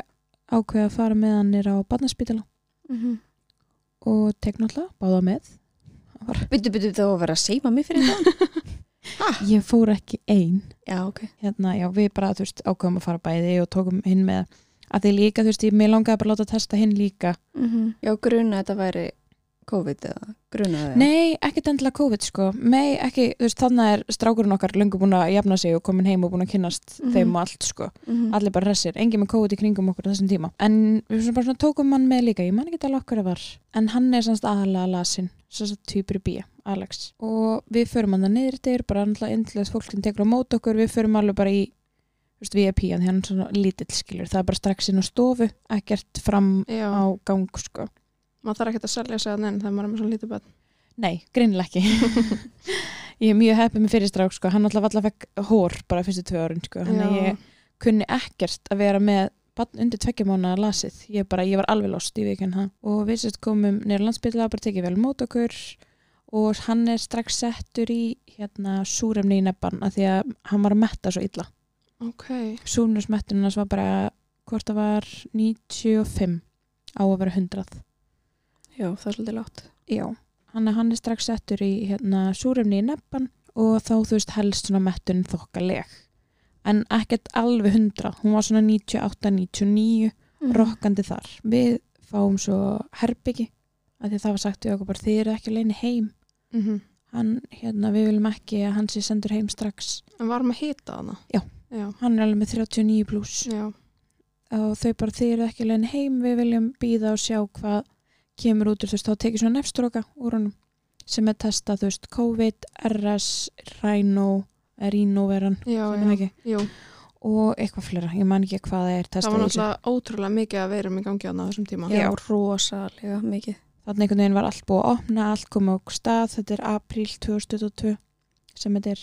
ákveða að fara með hann er á barnaspítala Mhm. og tek náttúrulega báða með Byttu, byttu, það var að vera að seima mig fyrir það ég fór ekki ein (laughs) Já, ok hérna, já, við bara, þú veist, ákveðum að fara bæði og tókum hinn með að því líka, þú veist, ég mig langaði bara að láta testa hinn líka Já, gruna að þetta væri COVID eða gruna það nei, ekkert endilega COVID, sko nei, ekki, þú veist, þannig er strákurinn okkar löngu búin að jafna sig og komin heim og búin að kynnast Mhm. þeim og allt, sko Mhm. allir bara hressir, engin með COVID í kringum okkur á þessum tíma en við svona bara svona tókum hann með líka ég man ekki alveg okkur það var en hann er semst aðalega lasin semst týpur í bíja, Alex og við förum hann það niður til bara náttúrulega endilegt fólkinn tekur á mót okkur við förum alveg bara í þú veist, VIP en því hann er svona lítill skilur það er bara strax inn á stofu, ekkert fram að já, á gang sko maður þarf ekkert að selja sig að neina þegar maður er með svona lítið bætt. Nei, greinilega ekki. ég er mjög heppið með fyrirstrák, sko. Hann alltaf alltaf fekk hór bara fyrstu tvö árin, sko. Þannig að Já. ég kunni ekkert að vera með barn undir tveggja mánuða lasið. Ég bara, ég var alveg lost í vikinn það. Og við sérst komum nýra landsbyrla, bara tekið vel mót okkur og hann er strax settur í hérna súremni í nebban af því að hann var að metta svo illa. Ok, Súrnusmettunum hans var bara hvort það var 95 á að vera 100. Já, það er svolítið látt Já, hann, hann er strax settur í hérna, súrefni í neppan og þá þú veist helst svona mettun þokkaleg. En ekkert alveg 100, hún var svona 98, 99, Mhm. rokkandi þar. Við fáum svo herbyggi, af því að það var sagt við okkur bara þið eru ekki að leina heim. mm Mhm. Hann, hérna, við viljum ekki að hann sé sendur heim strax. en varum að hita hana? Já. Já, Hann er alveg með 39 pluss já, og þau bara þið eru ekki að leina heim, við viljum býða og sjá hvað kemur út úr þú veist, þá tekið svona nefstróka úr honum sem er testað, þú veist, COVID, RS, Rhino, Rhino veran, já, sem er já. ekki, Jú, og eitthvað fleira, ég man ekki hvað það er það testað var í þessu. náttúrulega ótrúlega mikið að verum í gangi á þessum tíma. Já, rosalega mikið Þannig einhvern veginn var allt búið að opna, allt komið á stað, þetta er apríl 2022 sem þetta er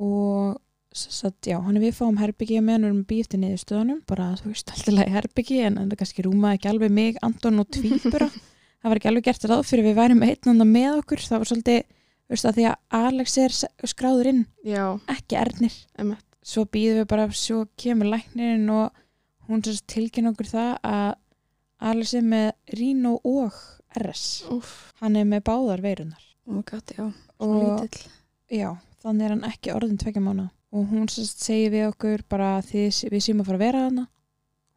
og satt, já, hann er við fáum herbyggi meðan við erum að býja eftir niðurstöðunum bara, þú veist, alltaf leið herbyggi en þetta kannski rúmaði ekki alveg mig, Anton og Tvíbura það var ekki alveg gert ráð fyrir við værum einn annan með okkur, það var svolítið þú veist, að því að Alex er s- skráður inn Já, ekki Ernir, emmi, svo býðum við bara svo kemur læknirinn og hún sem sagt tilkynna okkur það að Alex er með Rino og RS úff, hann er með báðar veirunar Oh my god, já. og já, þannig er hann ekki orðin tvekja mánu og hún sérst segir við okkur bara því við séum að fara að vera hana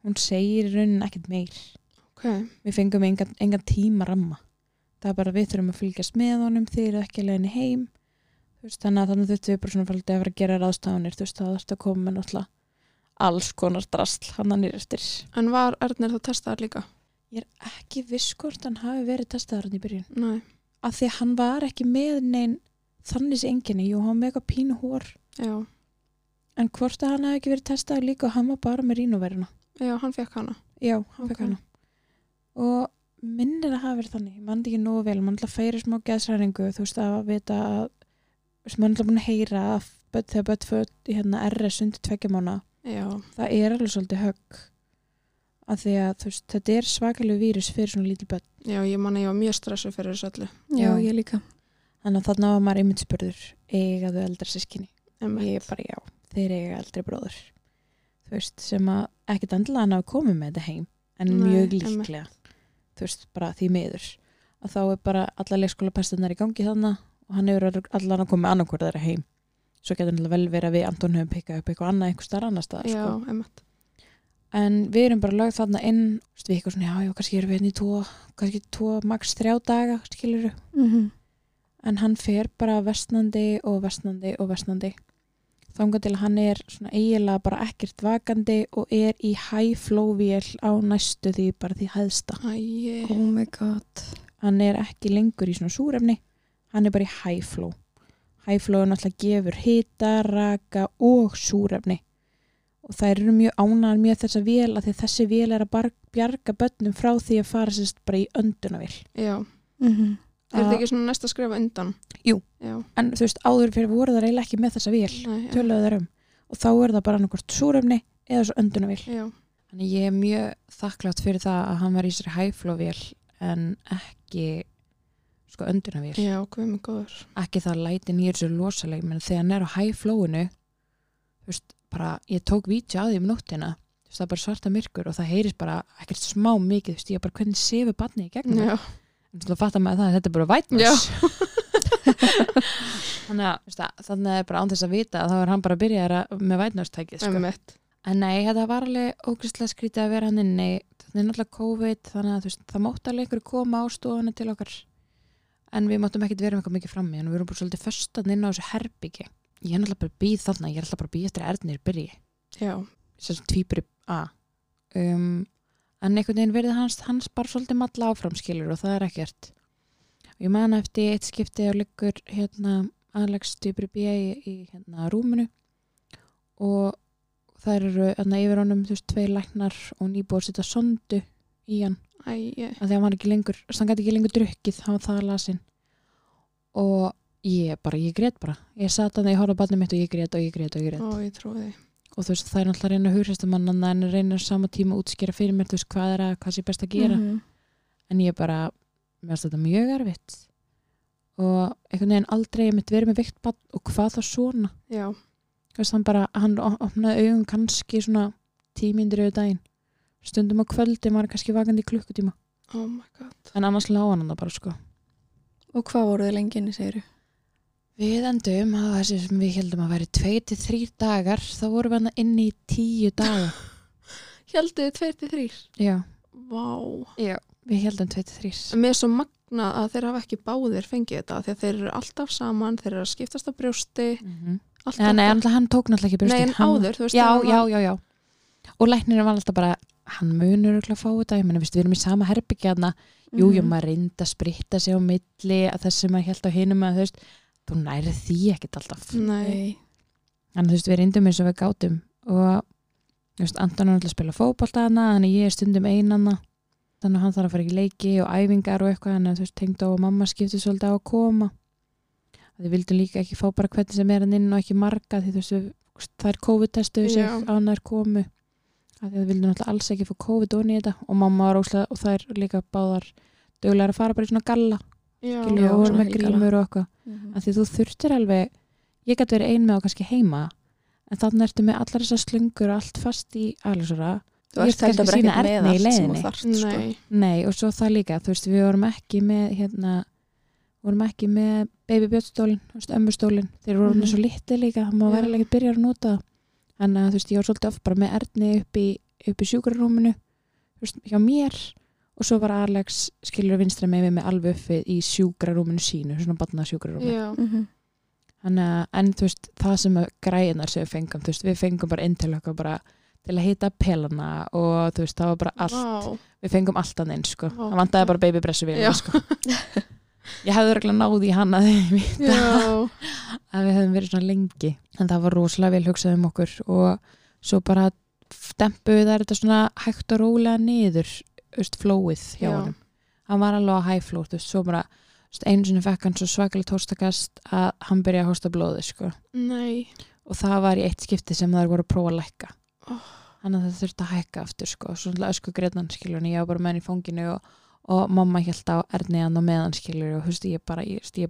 hún segir í raunin ekkert meir Ok, við fengum engan, engan tíma ramma það er bara við þurfum að fylgjast með honum þeir eru ekki að leiðinni heim Þú veist, þannig að þannig þurftum við bara svona fældið að vera að gera ráðstafanir þú veist það þarfst að koma með náttúrulega alls konar drasl hann að nýr eftir en var Erna þá testaðar líka? ég er ekki viss hvort hann hafi verið testaður hann í byrjun Nei, af því að hann var ekki með neinn þannig sem enginni, jú, hann var með eitthvað pínu hór já, en hvort að hann hafi ekki verið testaður líka og hann var bara með rínuveruna já, hann fekk hana já, hann Ok. fekk hana og minnir að hafa verið þannig, ég mann ekki nógu vel mann alltaf færi smá geðsræningu þú veist að vita að þú veist, mann alltaf búin að heyra að börn, þegar börn föt í hérna RS undir tveggja mána Já, það er alveg svolítið högg að því að þú veist, þetta er svakalegu vírus fyrir svona lítil börn já, ég manna ég var mjög stressuð fyrir þessu öllu Já, Já. ég líka. þannig að þarna var maður einmitt spurður eiga þau eldra sískinni og Einmitt. ég bara já, þeir eiga eldri bróður þú veist, sem að ekkert endilega hann hafi komið með þetta heim en Nei, mjög einmitt. líklega þú veist, bara því miður að þá er bara alla leikskóla pestinnar í gangi þannig og hann hefur allan að komið annarkvörð þeirra heim svo getur hann vel verið að við Anton höfum pikkað upp eitthvað annað eitthvað starf annar staðar Já, sko. emmitt en við erum bara lögð þarna inn þú veist, við eitthvað svona, já, já, kannski erum við hérna í tvo kannski tvo, max þrjá daga skilur Mm -hmm. en hann fer bara vestnandi og vestnandi og vestnandi þangað til hann er svona eiginlega bara ekkert vakandi og er í high flow vél á næstu því bara því hæðsta Æi, Oh my god. hann er ekki lengur í svona súrefni hann er bara í high flow high flow er náttúrulega gefur hita, raka og súrefni og það eru mjög ánæðan mjög þessa vél að því að þessi vél er að bar- bjarga börnum frá því að fara sérst bara í öndunavél já Mm -hmm. Er þetta ekki svona næsta skref á undan? Ah. Jú. Já, en þú veist áður fyrir voru það eiginlega ekki með þessa vél nei, já, töluðu þar um og þá er það bara annarkvort súrefni eða svo öndunavél já, Þannig ég er mjög þakklátt fyrir það að hann var í sér hæflóvél en ekki sko öndunavél. já, hvað er góður Ekki það lætin í þessu losaleg, menn þegar hann er á hæflóinu, þú veist, bara ég tók vítja á því um nóttina, þú veist, það er bara svarta myrkur og það heyrist bara ekkert smá mikið, þú veist, ég bara hvernig sefur barnið í Hérna, gegnum. Já, En þú fattar maður það að þetta er bara vætnus. Já. (laughs) þannig að, þú veist, að- þannig að það er bara án þess að vita að þá er hann bara að byrja að- með vætnustækið, sko. emmitt En nei, þetta var alveg ógriðslega skrítið að vera hann inni. Þannig er náttúrulega COVID, þannig að þú veist, það mátti alveg einhverju koma á stofana til okkar. En við máttum ekkert vera með eitthvað mikið frammi, en við erum bara svolítið föstan inn á þessu herbyggi. Ég er náttúrulega bara býð þarna, ég er alltaf bara býð eftir að erðnir byrji. Já, Sér sem tvýbri A. Um, en einhvern veginn verið hans, hans bara svolítið malla áfram skilur og það er ekkert. Ég man eftir eitt skipti og liggur hérna Alex tvýbri B í, í hérna rúminu og það eru enna yfir honum þú veist, tvei læknar og nýbúið að setja sondu í hann, æi, af því að hann var ekki lengur hann gæti ekki lengur drukkið, hann var það lasin og ég bara ég grét bara, ég sat að það, ég horfði á barnið mitt og ég grét og ég grét og ég grét ó, ég trúi því og þú veist, það er náttúrulega að reyna að hughrista mann en það reyna á sama tíma að útskýra fyrir mér þú veist, hvað er að, hvað sé best að gera -hmm. en ég bara, mér finnst þetta mjög erfitt og einhvern veginn aldrei ég mitt verið með veikt barn og hvað þá svona Já, Þú veist, hann bara, hann o- opnaði augun kannski svona tímindur yfir daginn stundum á kvöldi, maður er kannski vakandi í klukkutíma oh my god en annars lág hann það bara sko Og hvað voru þið lengi inni, segir Við endum að þessi sem við heldum að væri 2-3 dagar, þá vorum við hann inni í 10 daga. Hjaldu þið tveir til þrýr? Já, Vá við heldum 2-3. Mér er svo magna að þeir hafa ekki báðir fengið þetta því að þeir eru alltaf saman, þeir eru að skiptast á brjósti Mm -hmm. allt Nei, þetta. náttúrulega hann tók náttúrulega ekki Nei, brjóstið. en Hann- áður, þú veist Já, þegar hann já, var- já, já. Og læknirinn var alltaf bara, hann munur örugglega að fá þetta, ég meina, veistu, við erum í sama herbyggja hann Mhm. jú, jú, Mhm. maður reyndi að spritta sig á milli að það sem maður held á hinum að, þú veist, þú nærið því ekkit alltaf. Nei, Nei. Þannig, þú veist, við reyndum eins og við gátum og, þú veist, Anton er alltaf að spila fótbolta hana, þannig ég er stundum einanna þannig að hann þarf að fara ekki leiki og æfingar og eitthvað, þannig að þú veist, tengd og mamma skipti svolítið á að koma að þið vildum líka ekki fá bara hvernig sem er hann inn og ekki marga, því þú veist, við- það er COVID-testuðu sig Já. á hann er komu að þið vildum alltaf alls ekki fá COVID onni í þetta og mamma var óslega og það er líka báðar duglegar að fara bara í svona galla já, skilur, já, og voru svona með helgala. grímur og eitthvað Mm að því þú þurftir alveg ég gæti verið ein með og kannski heima en þannig ertu með allar þessar slöngur og allt fast í Alexora Þú ert Ég kannski þetta bara sýna ekkert með Erni í sko. allt sem þú leiðinni. þarft, sko. Nei, nei og svo það líka, þú veist við vorum ekki með hérna vorum ekki með babybjörnstólin, ömmustólin þeir voru mm Mhm. svo litli líka, það má Já. vera ekki að byrja að nota þá. þannig að þú veist, ég var svolítið oft bara með erni upp í, upp í sjúkrarúminu þú veist, hjá mér og svo var Alex skilur vinstra með mig með alveg uppið í sjúkrarúminu sínu svona batna sjúkrarúminu Já, -hmm. Þannig að, en þú veist, það sem að græinar sem við fengum, þú veist, við fengum bara inn til okkar bara til að hita pelana og þú veist, það var bara allt, vá, við fengum allt hann inn, sko. Vá. Það vantaði bara babybressu við Já. hann, sko. Ég hefði örgulega náð í hann að, já, (laughs) að við hefðum verið svona lengi. En það var rosalega vel hugsað um okkur og svo bara dempuðu þær þetta svona hægt og rólega niður, þú veist, flóið hjá Já. honum. Hann var alveg á high flow, þú veist, svo bara, þú veist, einu sinni fekk hann svo svakalit hóstakast að hann byrja að hósta blóði, sko. nei, og það var í eitt skipti sem þær voru að prófa að lækka Oh. þannig að það þurfti að hækka aftur sko, svona ösku greiðan skilur en ég var bara með hann í fanginu og, og mamma held á erniðan og meðan skilur og húst ég bara, ég, húst ég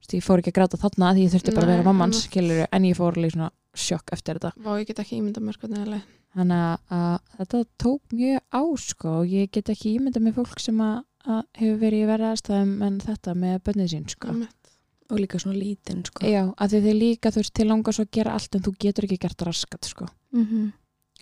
húst ég fór ekki að gráta þarna því ég þurfti bara að Nei, vera mamman einmitt. skilur en ég fór alveg svona sjokk eftir þetta vá, ég get ekki ímynda mér hvernig það leið. þannig að, að þetta tók mjög á sko og ég get ekki ímynda með fólk sem að, að hefur verið í verða aðstæðum en þetta með bönnið sín sko Einmitt. og líka svona lítinn sko. Já, að því þið líka þú veist til langar svo að gera allt en þú getur ekki gert raskat sko mm -hmm.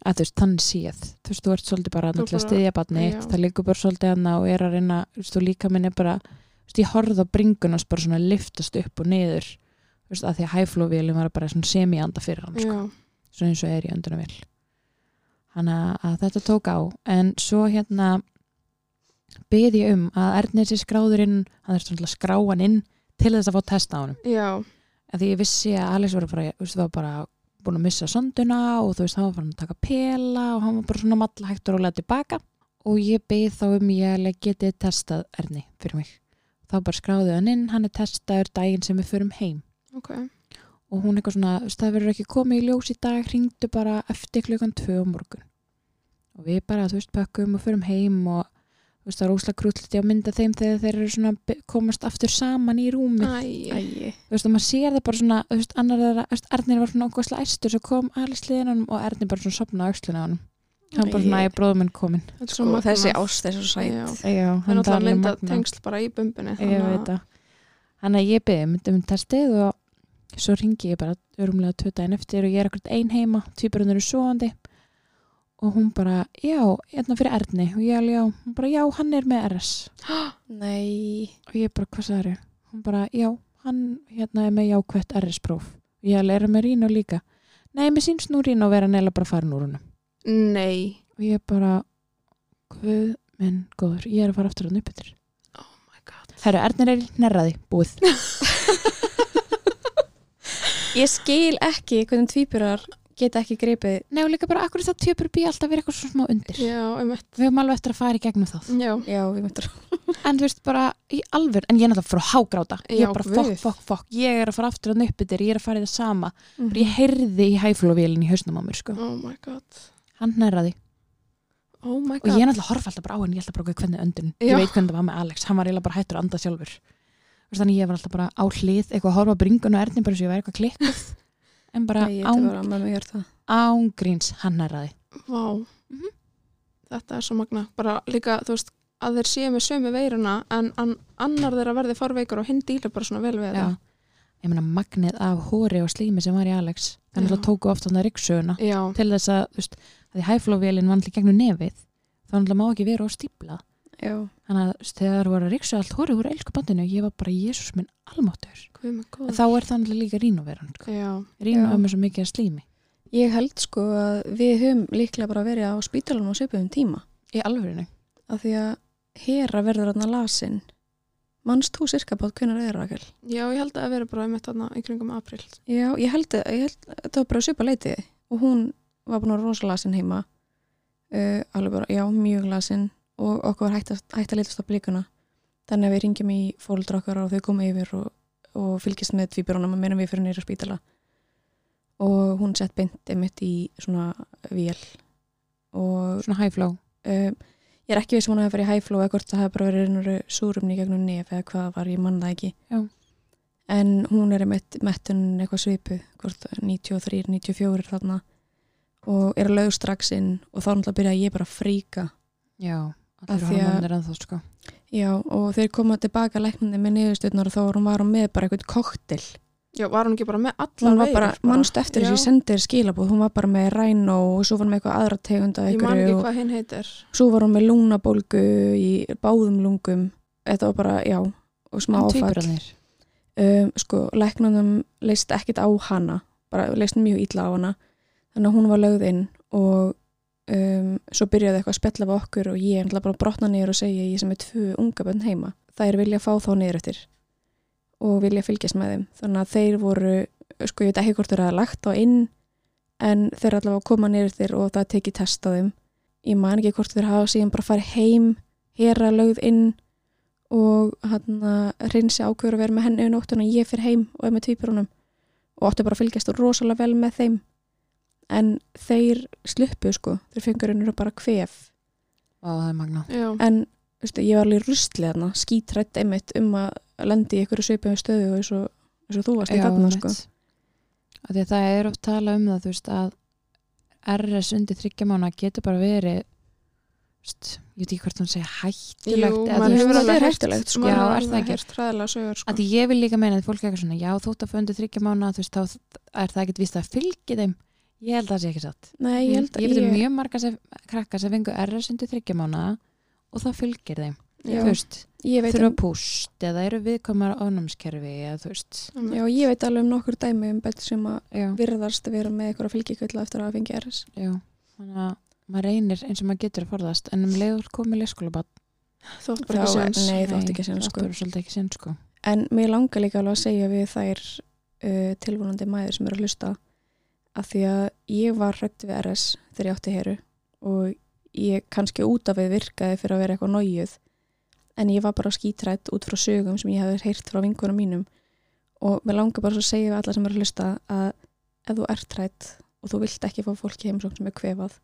að þú veist, þannig séð þú veist, þú ert svolítið bara Þú að bara- stiðja batni já. það liggur bara svolítið hann og er að reyna þú veist, þú líka minn er bara þú veist, ég horfði á bringunans bara svona liftast upp og niður þú veist, að því að hæflóvílum var bara svona semi-anda fyrir hann sko, Já, svona eins og er í öndunum vil hann að þetta tók á en svo hérna beði ég um að Ernir sér skráðurinn hann er svona skráan inn til þess að fá testa á hann já, að því ég vissi að Alex var bara, þú veist, var bara búin að missa sonduna og þú veist, hann var farin að taka pela og hann var bara svona malla hægt og rólega tilbaka og ég beið þá um ég alveg getið testað Erni fyrir mig. Þá bara skráðu hann inn, hann er testaður daginn sem við förum heim ok, og hún eitthvað svona, þú veist, það verður ekki komið í ljós í dag, hringdu bara eftir klukkan tvö á morgun. Og við bara, þú veist, pökkum og förum heim og þú veist, það er óslega krúlliti að mynda þeim þegar þeir eru svona be- komast aftur saman í rúmið æ, Æi, þú veist, og maður sér það bara svona, þú veist, annar þeirra, þú veist, Arnir var svona ógóðslega æstur, svo kom Alice liðin honum og Arnir bara svona sopnaði á öxlunni á honum. Hann bara svona, Æi. æ, bróðum minn komin. þetta er svo sko, magnað. þessi ást er svo sæt Já. Já, Það er náttúrulega linda tengsl bara í bumbunni. Ég veit það. Þannig að ég byrði myndum um testið og svo ringi ég bara örumlega tvö daginn eftir og ég er ekkert ein heima, tvíburinn eru svoandi og hún bara, já, hérna fyrir Erni og ég alveg, já, hún bara, já, hann er með RS Nei, og ég bara, hvað sagði þér? Hún bara, já, hann hérna er með jákvætt RS-próf. Ég alveg, er hann með Rínu líka? Nei, mér sínst nú Rínu að vera neila bara farin úr húnum. Nei, Og ég bara, hvað minn góður, ég er að fara aftur hann upp yfir. oh my god. Herru, Ernir er nærraði, búið. (laughs) ég skil ekki hvernig tvíburar geta ekki greipið Nei, og líka bara, akkur er það tjöpur bí alltaf verið eitthvað svo smá undir. Já, Mm. einmitt, Við höfum alveg eftir að fara í gegnum það. já, Já, við myndir En þú veist bara, í alvör, en ég er náttúrulega frá hágráta. Ég Já, er bara, guð. fokk, fokk, fokk, ég er að fara aftur hann upp yfir, ég er að fara í það sama. Mhm. Og ég heyrði í hæflóvílinn í hausnum á mér, sko. oh my god. Hann nærraði. Oh my og god. ég er náttúrulega horfa alltaf bara á henni, ég held að bara hvernig öndun Já. ég veit hvernig það var með Alex, hann var eiginlega bara hættur að anda sjálfur Þú veist, þannig ég var alltaf bara á hlið eitthvað að horfa á bringun og erðin bara svo ég væri eitthvað klikkuð (laughs) en bara Æi, þetta án- var að mamma gera það ángríns hann er aði Vá. Mhm. Þetta er svo magna. Bara líka, þú veist, að þeir séu með sömu veiruna en an, annar þeirra verði farveikur og hinn dýla bara svona vel ég við það. meina magnið af hóri og slími sem var í Alex þannig Já. að tóku oft hann að ryggsöguna Já, til þess að, þú veist, að því hæflóvélinn vannli gegnum nefið þá náttúrulega má ekki vera og stípla Já, þannig að þú veist, þegar voru að ryggsa allt hóri úr elsku bandinu, ég var bara Jésús minn almáttur hvað er með góð? þá er þannig líka rínuveran sko. Já, rínu Já. ömmu svo mikið að slími ég held sko að við höfum líklega bara verið á spítalunum á svipuðum tíma í alvörinu af því að hera verður hann lasin Manst þú sirka bát hvernig er Rakel? já, ég held að það veri bara einmitt þarna í kringum april. Já, ég held að ég held, að þetta var bara svipa leiti og hún var búin að vera rosa lasin heima uh, alveg bara, já, mjög lasin og okkur var hægt að, hægt að leitast á blíkuna þannig að við ringjum í fóruldra okkar og þau koma yfir og, og fylgjast með tvíburunum að meina við fyrir nýra spítala og hún sett beint einmitt í svona vél og svona hæfló um, ég er ekki veist hún að það fyrir hæfló eða hvort það hefði bara verið einhverju súrumni í gegnum nef eða hvað það var, ég mann það ekki Já. en hún er meitt, mettun eitthvað svipu, hvort 93, 94 þarna og er að lög strax inn og þá náttúrulega byrja ég bara að fríka Já, Af allir því að- hormonir ennþá sko. Já, og þeir koma tilbaka lækninni með niðurstöðnar og þá var hún var hún með bara eitthvað koktel. Já, var hún ekki bara með alla Hún var bara, veirur mannstu eftir Já. þessi sendir skilabúð, hún var bara með ræn og svo var hún með eitthvað aðra tegunda Ég man eitthvað ekki og hvað hinn heitir. svo var hún með lúnabólgu í báðum lungum. Þetta var bara, já, og En smá áfall. tvíburarnir? um, sko, læknunum leist ekkit á hana, bara leist mjög illa á hana, þannig að hún var lögð inn og um, svo byrjaði eitthvað að spjalla við okkur og ég ætla bara að brotna niður og segja ég sem er tvö unga bönn heima, þær vilja fá þá niður eftir og vilja fylgjast með þeim, þannig að þeir voru sko, ég veit ekki hvort þeir hafa lagt þá inn en þeir allavega koma niður eftir og það tekið test á þeim ég man ekki hvort þeir hafa síðan bara farið heim hera lögð inn og hann reynsi ákveður að vera með henni um nóttun og ég fyrir heim og er með tvíburunum og átti bara að fylgjast rosalega vel með þeim en þeir sluppu sko þeir fengur henni bara kvef Vá, það er magna. Já, en veistu, ég var alveg rustlega þarna skítrætt einmitt um að lendi í einhverju svipum stöðu og eins og, eins og þú varst í þarna sko einmitt. Af því að það er oft talað um það, þú veist, að RS undir þryggjamána getur bara verið, þú veist, ég veit ekki hvort hún segja hættulegt. Jú, eða maður þú veist, hefur alveg þetta er heyrt- hættulegt, sko. maður Já, hefur er það alveg ekki? heyrt hræðilega sögur Af sko. Því ég vil líka meina að fólk er eitthvað svona, já, þótt að fá undir þryggjamána, þú veist, þá er það ekkert víst að fylgi þeim. Ég held að það sé ekki satt. Nei, ég held Ég veit um mjög marga sem, krakka sem fengu RS undir þryggjamána og það fylgir þeim. Já. Þú veist, ég veit þurfa um, púst eða eru viðkomar ofnumskerfi eða þú veist, já, ég veit alveg um nokkur dæmi um bett sem að já. virðast vera með einhverja fylgikvilla eftir að hafa fengið RS Já, þannig að maður reynir eins og maður getur að forðast en um leiður komið leikskólabann Þú átt bara ekki Þá- séns. Nei, þú átt ekki séns, sko. Það er svolítið ekki sinn sko En mér langar líka alveg að segja við þær uh, tilvonandi mæður sem eru að hlusta að því að ég var hrætt við RS þegar ég átti heru og ég kannski út af við virkaði fyrir að vera eitthvað nógið en ég var bara skítrætt út frá sögum sem ég hefði heyrt frá vinkunum mínum og mér langar bara svo að segja við alla sem eru að hlusta að ef þú ert hrætt og þú vilt ekki fá fólki í heimsókn sem er kvefað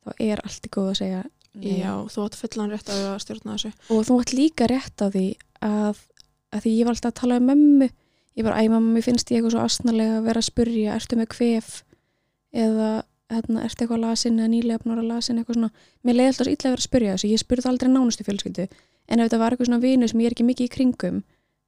þá er allt í góð að segja nei Já, þú átt fullan rétt á því að stjórna þessu. og þú ætti líka rétt á því að, að því ég var alltaf að tala um mömmu ég bara, æ mamma, mér finnst ég eitthvað svo astnalega að vera að spurja, ertu með kvef eða, hérna, ertu eitthvað lasin eða nýlefnur að lasin, eitthvað svona mér leiði alltaf svo illa að vera að spurja þessu, ég spurði aldrei nánustu fjölskyldu, en ef þetta var eitthvað svona vinu sem ég er ekki mikið í kringum,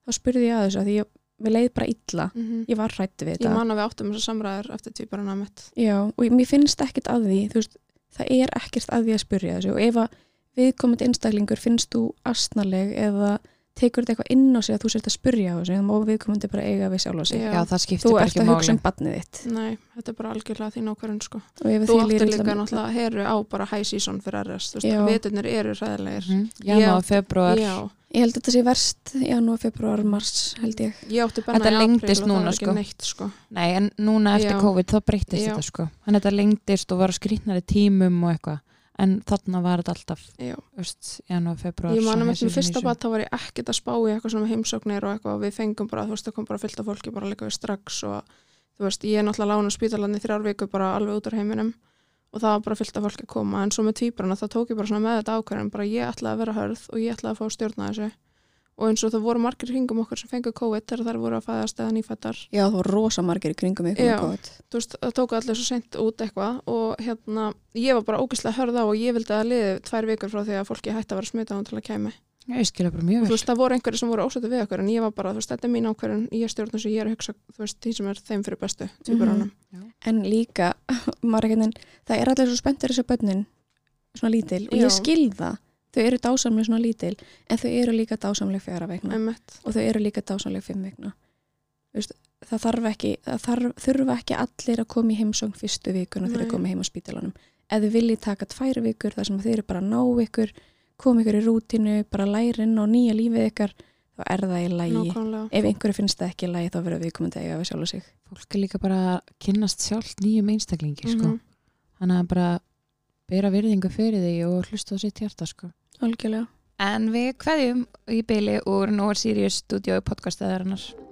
þá spurði ég að þessu, af því ég, mér leiði bara illa ég var hrætt við Mhm. Ég þetta man að við áttum þessar samræður eftir tvíbarana mitt. Já, og ég- mér finnst ekkert að því, þú veist, það er ekkert að því að spyrja þessu og ef að viðkomandi einstaklingur finnst þú astnaleg eða tekur þetta eitthvað inn á sig að þú sért að spyrja á þessu, þá má viðkomandi bara eiga við sjálf á sig. Já. Já, það skiptir Þú bara ert ekki að hugsa máli um barnið þitt. Nei, þetta er bara algjörlega þín ákvarðun sko. Og ef þér Þú líður átti illa- líka náttúrulega heru á bara high season fyrir RS. Þú Já. veist, veturnir eru hræðilegir. Mhm. Janúar, átti- februar Já, Ég held að þetta sé verst í janúar, februar, mars, held ég. ég átti benna Þetta í apríl lengdist og það var núna, ekki sko. Neitt, sko. Nei, en núna eftir Já. COVID þá breyttist Já. þetta sko Þannig að þetta lengdist og var skrýtnari tímum og eitthvað en þarna var þetta alltaf Já. öst, janúar, februar Ég svo man að mitt hæsir með fyrsta í bat þá var ég ekkert að spá í eitthvað svona heimsóknir og eitthvað og við fengum bara, þú veist, það kom bara fyllt af fólki bara líka við strax og þú veist, ég er náttúrulega lána spítalarni þrjár viku bara alveg út úr heiminum og það var bara fyllt af fólki að koma en svo með tvíbrana þá tók ég bara svona með þetta ákveðin bara ég ætlaði að vera hörð og ég ætlaði að fá að stjórna þessu og eins og það voru margir hringum okkur sem fengu COVID þegar þær voru að fæðast eða nýfættar Já, það var rosa margir í kringum ykkur Já. með COVID. þú veist, það tók allir svo sent út eitthvað og hérna, ég var bara ógeðslega hörð á og ég vildi að liði tvær vikur frá því að fólki hætti að vera smita til að kæmi Já, Ég skilja bara mjög og þú vel veist, það voru einhverju sem voru ósættu við okkur en ég var bara, þú veist, þetta er mín ákvörðun ég stjórn þessu, ég er að hugsa, þú veist, því sem er þeim fyrir bestu tvíburunum, En líka, (laughs) maður ekki, það er allir svo spenntur þessu bönnin, svona lítil, og Já. ég skil það. Þau eru dásamlega svona lítil, en þau eru líka dásamlega fjara vegna. emmett og þau eru líka dásanleg fimm vikna Vist, það þarf ekki það þarf, þurfa ekki allir að koma í heimsóng fyrstu vikuna þegar Nei. þau koma heim á spítalanum ef þau viljið taka tvær vikur þar sem þau eru bara að ná ykkur koma ykkur í rútinu, bara lærin og nýja lífið ykkar, þá er það í lægi nákvæmlega, ef einhverju finnst það ekki í lægi þá verður við komandi að eiga við sjálf og sig Fólk er líka bara að kynnast sjálft nýjum einstaklingi sko Mhm. Þannig að bara bera virðingu fyrir því og hlusta á sitt hjarta sko algjörlega En við kveðjum í byli úr Nóar Sirius stúdíói podcastaðarinnar.